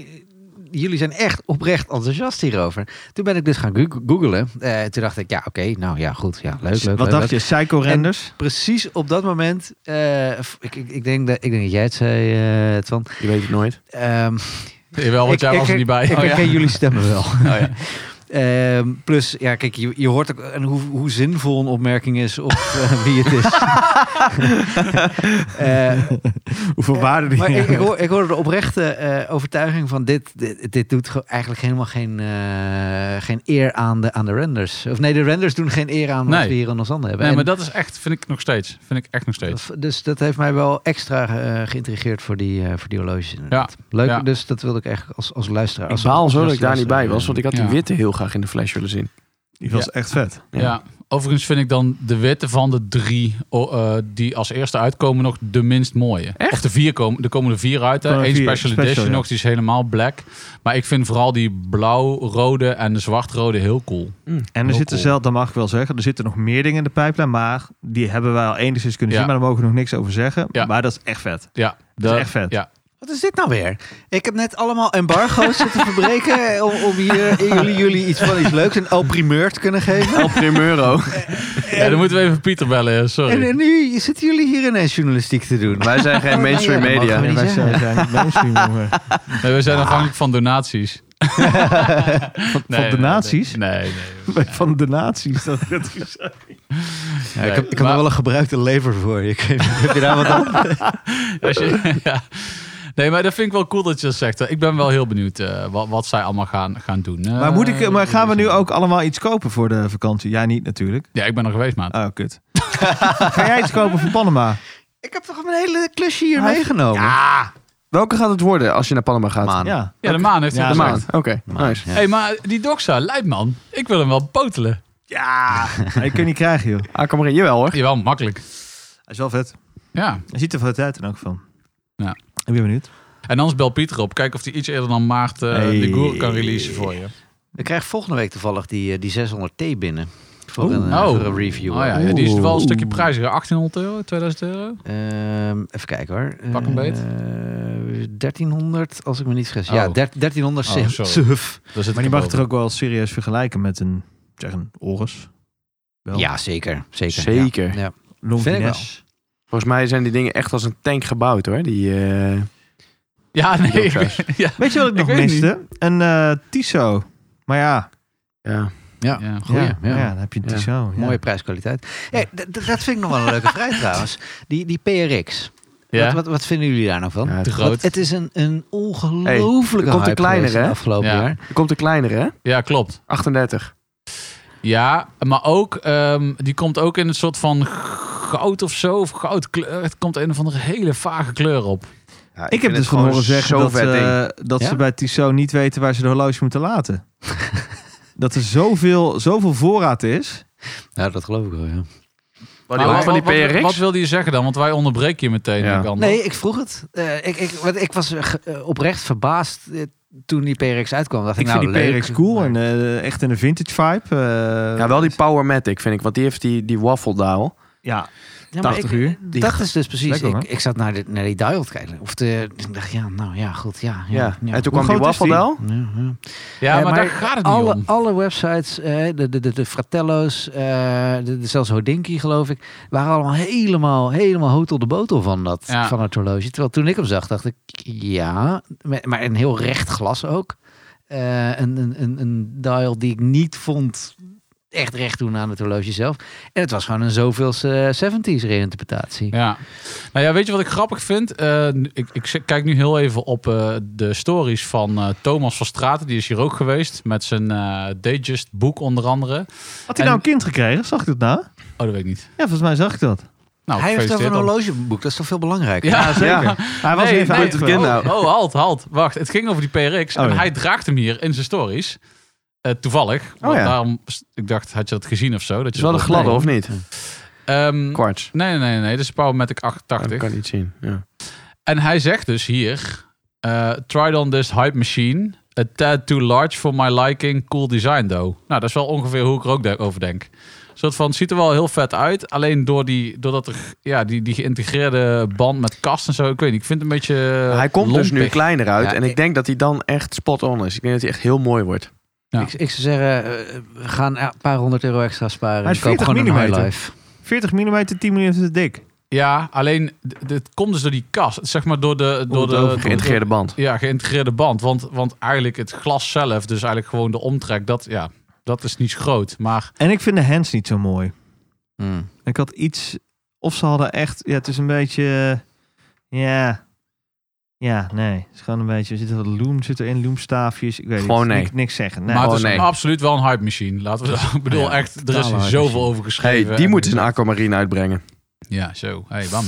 E: jullie zijn echt oprecht enthousiast hierover. Toen ben ik dus gaan goog- googlen. Eh, toen dacht ik, ja oké, nou ja goed, ja, leuk, leuk.
B: Wat
E: leuk,
B: dacht je?
E: leuk. Dus
B: Psycho renders?
E: Precies op dat moment, eh, f- ik, ik, ik, denk dat, ik denk dat jij het zei, eh, Twan.
A: Je weet het nooit.
E: Ehm,
D: Jawel, want
E: ik-
D: jij
E: ik-
D: was er niet bij.
E: Ik
D: Oh, ja. Oh,
E: herken jullie stemmen
D: [laughs]
E: wel. Ehm, plus, ja, kijk, je, je hoort ook en hoe, hoe zinvol een opmerking is op eh, wie
D: [laughs]
E: het is. Eh,
B: Hoeveel waarde die
E: maar ik, ik,
B: hebben?
E: hoor, ik hoor de oprechte eh, overtuiging van dit, dit, dit doet ge- eigenlijk helemaal geen, eh, geen eer aan de, aan de renders. Of nee, de renders doen geen eer aan wat
D: Nee.
E: we hier in ons handen hebben.
D: Nee, maar
E: En
D: dat is echt, vind ik nog steeds. Vind ik echt nog steeds.
E: v- Dus dat heeft mij wel extra eh, geïntrigeerd voor die, eh, voor die horloges. inderdaad. Leuk,
D: ja.
E: dus dat wilde ik eigenlijk als, als luisteraar.
A: Ik
E: Als
A: baal zo dat ik
E: enthousiast
A: daar niet bij
B: eh,
A: was,
E: luisteraar,
A: want ik had
D: Ja.
A: die witte heel graag in de flash willen zien.
B: Die was echt vet.
D: Ja. Overigens vind ik dan de witte van de drie o- eh, die als eerste uitkomen nog de minst mooie. Echt? Of de vier komen, er komen er vier uit.
B: Er
D: Hè?
B: komen
D: Eén
B: vier,
D: special,
B: special,
D: edition
B: ja.
D: nog, die is helemaal black. Maar ik vind vooral die blauw-rode en de zwart-rode heel cool.
B: En er
D: Heel
B: zitten
D: cool.
B: zelf, dat mag ik wel zeggen, er zitten nog meer dingen in de pijplijn, maar die hebben wij al enigszins kunnen
D: Ja.
B: zien, maar daar mogen we nog niks over zeggen.
D: Ja.
B: Maar dat is echt vet.
D: Ja,
B: Dat is
D: de-
B: echt vet.
D: Ja.
E: Wat is dit nou weer? Ik heb net allemaal embargo's [laughs] zitten verbreken om, om hier eh, jullie, jullie iets van iets leuks, een el primeur te kunnen geven.
A: Op Primero.
D: ja, dan moeten we even Pieter bellen, eh, sorry.
E: En, en nu zitten jullie hier ineens journalistiek te doen.
A: Wij zijn
B: Oh,
A: geen mainstream
E: Ja, dat
A: media.
E: mag niet.
B: wij
E: zeggen.
B: zijn niet mainstream, [laughs] jongen.
D: Nee, we zijn afhankelijk
B: [laughs]
D: van donaties.
B: van donaties?
D: Nee, nee. nee.
B: Van de nazi's. Dat,
E: Ja, ik heb, ik heb
D: Maar-
E: er wel een gebruikte lever voor. Ik, heb je daar wat aan?
D: Als je- [laughs] ja. Nee, maar dat vind ik wel cool dat je dat zegt. Ik ben wel heel benieuwd eh, wat, wat zij allemaal gaan, gaan doen.
B: maar, moet ik,
D: Eh,
B: maar gaan we nu ook allemaal iets kopen voor de vakantie? Jij niet natuurlijk.
D: Ja, ik ben er geweest, maat.
B: Oh, kut. [laughs] Ga jij iets kopen voor Panama?
E: Ik heb toch mijn hele klusje hier
B: Hij-
E: meegenomen.
A: Welke gaat het worden als je naar Panama gaat?
E: Maan.
B: Ja.
D: Ja, de maan heeft hij
A: De
D: gezegd.
A: maan. Oké,
E: Maan,
A: nice.
E: ja.
D: Hé, hey, maar die doxa, lijp man. Ik wil hem wel botelen.
B: Ja. Je kunt niet krijgen, joh.
A: Ah, kom maar in. Jawel hoor.
D: Jawel, makkelijk.
B: Hij is wel vet.
D: Ja.
B: Hij ziet er vet uit in elk geval.
D: Ja.
B: Ik ben benieuwd.
D: En anders bel Pieter op. Kijk of hij iets eerder dan maart eh,
B: Hey.
D: de Goer kan releasen voor je.
E: Ik krijg volgende week toevallig die, eh, die 600 T binnen. Voor, een, eh,
D: Oh.
E: voor een review.
D: Oh ja, ja, die is wel een stukje prijziger. 1800 euro, 2000 euro.
E: Ehm, even kijken hoor.
D: Pak een beet.
E: Eh, 1300, als ik me niet vergis. Ja,
D: Oh.
E: 13- 1300
D: Oh,
E: suf.
D: sorry.
E: suf.
D: Daar zit
B: Maar
D: ik
B: die mag
D: op.
B: het er ook wel serieus vergelijken met een, zeg een Oris. Wel.
E: Ja, zeker. Zeker.
A: Zeker.
E: Ja. Ja.
B: Longines.
A: Volgens mij zijn die dingen echt als een tank gebouwd hoor. Die, eh,
D: Ja, nee. ik
A: Doxa's.
D: weet- [laughs] ja.
B: Weet je wat ik, nog
D: weet het
B: miste? Een eh Tiso. Maar ja,
A: ja.
E: Ja.
D: Ja.
E: Goeie,
B: ja,
E: ja.
B: ja, dan heb je een
A: Ja.
B: Tiso. ja.
E: Mooie prijskwaliteit. Hey, d- d- dat vind ik nog wel een leuke [laughs] vrij trouwens. Die, die PRX.
D: Ja.
E: Wat, wat, wat vinden jullie daar nou van?
A: Ja,
D: Te
A: er
E: Want
D: groot.
E: het is een, een
A: Hey, er
E: ongelooflijke
A: komt een
E: hype
A: kleinere,
E: geweest in
A: hè?
E: het afgelopen
D: Ja.
E: jaar.
A: komt een kleinere hè?
D: Ja, klopt.
A: 38.
D: Ja, maar ook, ehm, die komt ook in een soort van goud of zo. Of goud kleur. Het komt een of andere hele vage kleur op.
A: Ja,
B: Ik, heb
A: vind
B: dus
A: het gewoon
B: gewoon horen zeggen
A: zo
B: dat,
A: vet ding.
B: eh, dat
E: Ja?
B: ze bij Tiso niet weten waar ze de horloge moeten laten. [laughs] dat er zoveel, zoveel voorraad is.
E: Ja, dat geloof ik wel, ja.
A: Maar die
D: Maar
A: hoort van die
D: wat- wat-
A: PRX.
D: Wat wilde je zeggen dan? Want wij onderbreken je meteen.
A: Ja.
D: Alexander.
E: Nee, ik vroeg het. Eh, ik, ik, want ik was eh, ge- eh, oprecht verbaasd eh, toen die PRX uitkwam. Dacht ik
B: Ik vind
E: nou,
B: die
E: leuk,
B: PRX cool
E: maar-
B: en eh, echt in een vintage vibe. eh,
A: ja, wel die Powermatic vind ik. Want die heeft die, die waffle dial.
B: Ja,
E: Ja,
B: 80
E: ik-
B: uur.
A: Die
E: dat is dus precies.
B: Lekker,
E: ik,
B: hoor.
E: ik zat naar, de, naar die dial te kijken. Of de, ik dacht, ja, nou ja, goed, ja.
A: Ja.
E: ja, ja.
A: En toen kwam die
B: Hoe groot is
A: waffle
B: die?
A: dial.
E: Ja, ja.
D: Ja,
E: Eh,
D: maar, daar gaat het niet
E: alle,
D: om.
E: Alle websites, eh, de, de, de, de Fratello's, eh, de, de- zelfs Hodinky geloof ik, waren allemaal helemaal, helemaal hotel de botel van dat,
D: Ja.
E: van het horloge. Terwijl toen ik hem zag, dacht ik, ja, maar maar een heel recht glas ook. Eh, een, een, een, een dial die ik niet vond echt recht doen aan het horloge zelf. En het was gewoon een eh, zoveelste 70s reïnterpretatie.
D: Ja. Nou ja, weet je wat ik grappig vind? Eh, ik, ik zit- kijk nu heel even op eh, de stories van eh, Thomas van Straten. Die is hier ook geweest met zijn eh Dayjust boek onder andere.
B: Had
D: En-
B: hij nou een kind gekregen? Zag ik dat nou?
D: Oh, dat weet ik niet.
B: Ja, volgens mij zag ik dat.
D: Nou,
E: Hij heeft over
D: gefeliciteerd
E: een
D: dan.
E: horlogeboek, dat is toch veel belangrijker?
D: Ja,
A: Ja.
B: Hij was
D: Nee,
B: even
D: nee,
B: uit
A: het kind
D: oh,
A: nou.
D: oh, halt, halt. Wacht, het ging over die PRX.
B: Oh,
D: en
B: ja.
D: hij draagt hem hier in zijn stories. Eh, toevallig. want
A: Oh, ja.
D: daarom, ik dacht, had je dat gezien of zo? Dat
A: Het
D: je
A: is wel een
D: dat-
A: gladde,
D: Nee.
A: of niet?
D: Ehm,
A: Kwarts.
D: nee, nee, nee, nee. Dit is Powermatic
A: Dat
D: 88.
A: kan niet zien. Ja.
D: En hij zegt dus hier: eh Tried on this hype machine. A tad too large for my liking. Cool design though. Nou, dat is wel ongeveer hoe ik er ook de- over denk. Een soort van, ziet er wel heel vet uit. Alleen door die, doordat er, ja, die, die geïntegreerde band met kast en zo. Ik weet niet, ik vind het een beetje eh,
A: hij komt dus nu
D: lompig.
A: kleiner uit.
E: Ja,
A: en ik,
E: ik-
A: denk dat hij dan echt spot on is. Ik denk dat hij echt heel mooi wordt.
D: Ja.
E: Ik, ik zou zeggen, eh, we gaan een paar honderd euro extra sparen.
B: Hij is
E: en koop
B: 40
E: gewoon een
B: millimeter.
E: high life.
B: 40 mm, 10 mm te dik.
D: Ja, alleen d- dit komt dus door die kast. Zeg maar door de... Door de, door de-
A: geïntegreerde band.
D: ja, geïntegreerde band. Want, want eigenlijk het glas zelf, dus eigenlijk gewoon de omtrek, dat, ja, dat is niet groot. Maar
B: En ik vind de hands niet zo mooi.
E: Hmm.
B: Ik had iets... Of ze hadden echt... Ja, het is een beetje... eh, Ja... Ja, nee. Het is gewoon een beetje... Er zit wat loom zit erin, loomstaafjes. Ik weet
A: Gewoon
B: niet.
A: nee.
B: Niks, niks zeggen. Nee.
D: maar het
A: Oh,
D: is
A: nee.
D: absoluut wel een hype machine. Laten we dat. [laughs] Ik bedoel,
E: Ja,
D: echt, er is
E: totale hype
D: zoveel
E: machine.
D: over
A: Hey,
D: geschreven.
A: die moeten ze een aquamarine uitbrengen.
D: Ja, zo. Hey, bam.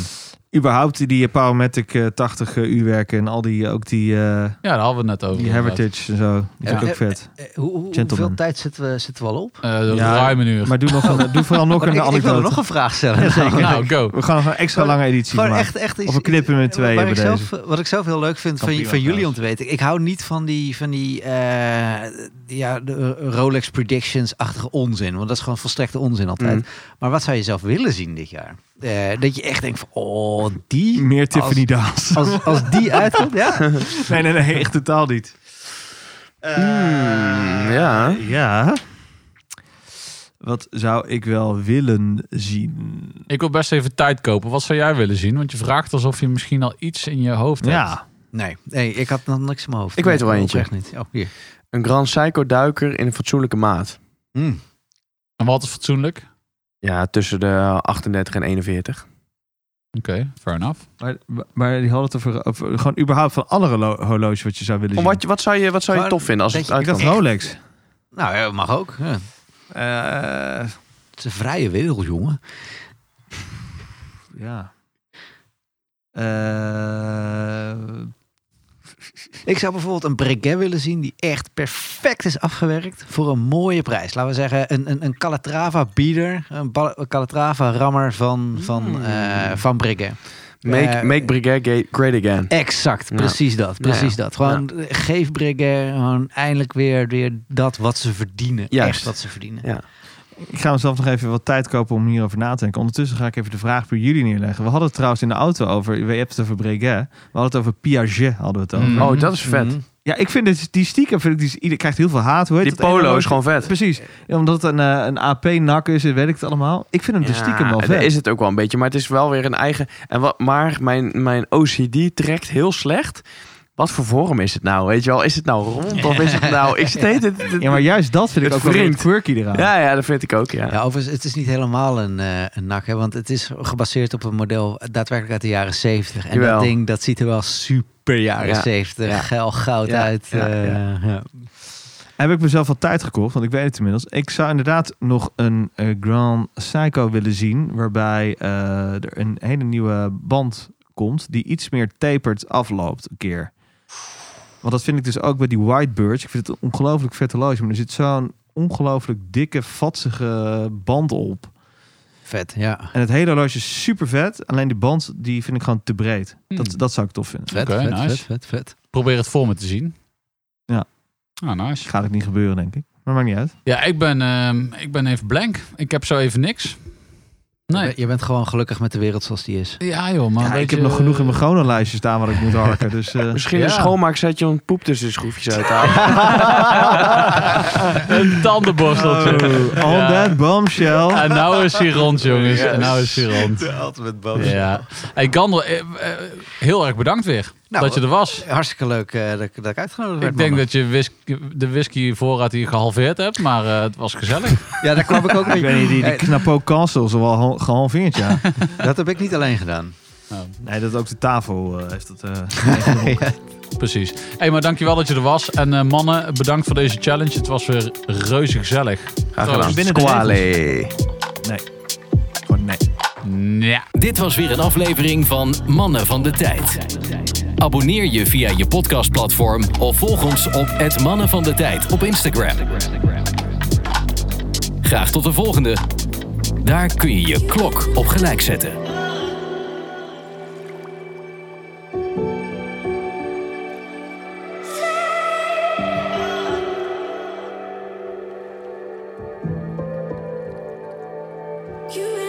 B: Überhaupt die eh, Powermatic eh, 80 uurwerken en al die... Ook die, eh,
D: Oh, Ja, daar hadden we het net over.
B: die Heritage en zo. Die vind ik
E: Ja.
B: ook vet.
E: Eh, hoe, hoe- hoeveel
B: Gentleman.
E: tijd zitten we, zitten we al op?
D: inderdaad. Eh,
B: Ja,
D: Ruim een uur.
B: Maar doe, nog een, doe vooral nog
E: Oh,
B: een
E: ik, ik wil
B: anekdote.
E: nog een vraag
B: [laughs]
E: stellen.
D: [laughs] nou, go.
B: We gaan nog een extra lange editie
E: Gewoon
B: maken.
E: echt, echt iets-
B: Of we knippen hem in tweeën
E: waar
B: bij
E: ik
B: deze.
E: zelf, Wat ik zelf heel leuk vind
B: Kan
E: van,
B: prima
E: van jullie om
B: trouwens.
E: te weten. Ik hou niet van die, van die eh, ja, de Rolex Predictions-achtige onzin. Want dat is gewoon volstrekte onzin altijd.
B: Mhm.
A: Mm.
E: Maar wat zou je zelf willen zien dit jaar? Eh, dat je echt denkt van, oh,
B: [laughs]
E: die...
B: Meer Tiffany
E: Tiffany [laughs]
B: Daas.
E: Als, als die uitkomt, ja.
B: Nee, nee, nee, echt totaal niet. Eh.
A: Hmm, ja.
B: Ja. Wat zou ik wel willen zien?
D: Ik wil best even tijd kopen. Wat zou jij willen zien? Want je vraagt alsof je misschien al iets in je hoofd hebt.
B: Ja.
E: Nee, nee, ik had nog niks in mijn hoofd.
A: Ik weet er wel
E: Nee,
A: eentje.
E: oprecht niet. Oh, hier.
A: Een Grand Psycho duiker in een fatsoenlijke maat. Hmm.
E: Mm.
D: En wat is fatsoenlijk?
A: Ja, tussen de 38 en 41.
D: Oké, fair enough.
B: Maar, maar die hadden het over, over gewoon überhaupt van alle horlo- horloges wat je zou willen
A: Om
B: zien.
A: Wat, wat zou je, wat zou je
E: Gewoon
A: tof vinden als het
E: dat
B: ik dacht
A: uitkomt?
B: Rolex.
E: Nou, ja, mag ook. Ja.
B: Eh,
E: Het is een vrije wereld, jongen.
B: ja. Eh,
E: Ik zou bijvoorbeeld een breguet willen zien die echt perfect is afgewerkt voor een mooie prijs. Laten we zeggen een, een, een Calatrava bieder, een, bal- een Calatrava rammer van,
A: Hmm.
E: van, eh, van breguet.
A: Make,
E: Eh,
A: make Brigade ga- great again.
E: Exact,
A: Ja.
E: precies dat,
A: Ja, ja.
E: precies dat. Gewoon eh, geef breguet gewoon eindelijk weer, weer dat wat ze verdienen.
A: Juist.
E: Echt wat ze verdienen.
A: Ja.
B: Ik ga mezelf nog even wat tijd kopen om hierover na te denken. Ondertussen ga ik even de vraag bij jullie neerleggen. We hadden het trouwens in de auto over. We hebben het over Breguet. We hadden het over Piaget. Hadden we het over.
D: Mm.
A: Oh, dat is vet.
E: Mhm.
B: Ja, ik vind dit, die stiekem. Vind ik, die, ieder krijgt heel veel haat. Hoe heet
A: Die
B: dat ene
A: polo
B: woord?
A: is gewoon vet.
B: Precies. Ja, omdat het een, eh, een AP-nak is en weet ik het allemaal. Ik vind hem dus stiekem wel
A: dat
B: vet.
A: is het ook wel een beetje. Maar het is wel weer een eigen... En wat, maar mijn, mijn OCD trekt heel slecht. Wat voor vorm is het nou? Weet je wel, is het nou rond of is het nou... Ik steed het... het-
B: [laughs] Ja, maar juist dat vind ik
A: Het
B: ook wel weer het
A: wringt.
B: quirky eraan.
A: ja, ja, dat vind ik ook, ja.
E: Ja, overigens, het is niet helemaal een, eh een nak, hè, want het is gebaseerd op een model daadwerkelijk uit de jaren 70. En
A: Jawel.
E: dat ding, dat ziet er wel super jaren
A: Ja,
E: 70,
A: ja.
E: geil goud
A: Ja,
E: uit.
A: ja,
E: eh,
A: ja.
E: ja.
B: Heb ik mezelf al tijd gekocht, want ik weet het inmiddels. Ik zou inderdaad nog een eh, Grand Psycho willen zien, waarbij eh, er een hele nieuwe band komt die iets meer taperd afloopt een keer. Want dat vind ik dus ook bij die Whitebirds. Ik vind het een ongelooflijk vet horloge, maar er zit zo'n ongelooflijk dikke, vatsige band op.
E: Vet, ja.
B: En het hele horloge is super vet, alleen die band die vind ik gewoon te breed. Dat,
D: Hmm.
A: Hmm.
B: dat zou ik tof vinden.
E: Vet,
D: Oké,
E: vet,
D: nice.
E: vet, vet, vet.
D: Probeer het voor me te zien.
B: Ja.
D: Ah, nice.
B: Gaat ook niet gebeuren, denk ik. Maar maakt niet uit.
D: Ja, ik ben, ehm, ik ben even blank. Ik heb zo even niks.
E: Je
D: Nee.
E: bent- Je bent gewoon gelukkig met de wereld zoals die is.
D: Ja joh, maar
B: Ja,
D: weet
B: ik heb
D: je-
B: nog genoeg in mijn chronenlijstje staan waar ik moet harken. Dus, eh,
A: Misschien
D: Ja.
A: een schoonmaaksetje om poep tussen de schroefjes uit te
B: [laughs]
A: halen.
D: [laughs] Een tandenborsteltje.
B: Oh, [laughs] on
D: Ja.
B: that bombshell.
D: [laughs] En nou is hij rond, jongens. En nou is hij rond. Ja. Hey, Gander, eh, eh, heel erg bedankt weer
E: Nou,
D: dat je er was.
E: Hartstikke leuk eh, dat, ik- dat ik uitgenodigd werd.
D: Ik denk
E: mannen.
D: dat je whis- de whiskyvoorraad hier gehalveerd hebt, maar eh, het was gezellig.
E: Ja, daar kwam ik ook
B: Ik weet
E: mee.
B: niet, die, die
E: Eh,
B: knapo kansel is al wel hal- gehalveerd, ja.
E: dat heb ik niet alleen gedaan.
B: [laughs] Nee, dat ook de tafel eh, heeft dat... eh,
D: Precies. Hey, maar dankjewel dat je er was. En eh, mannen, bedankt voor deze challenge. Het was weer reuze gezellig.
A: Graag
D: Zo,
A: gedaan.
B: binnen de
A: Squally.
B: nee, gewoon nee.
D: Ja.
C: Dit was weer een aflevering van Mannen van de Tijd. Abonneer je via je podcastplatform of volg ons op het Mannen van de Tijd op Instagram. Graag tot de volgende. Daar kun je je klok op gelijk zetten.
F: You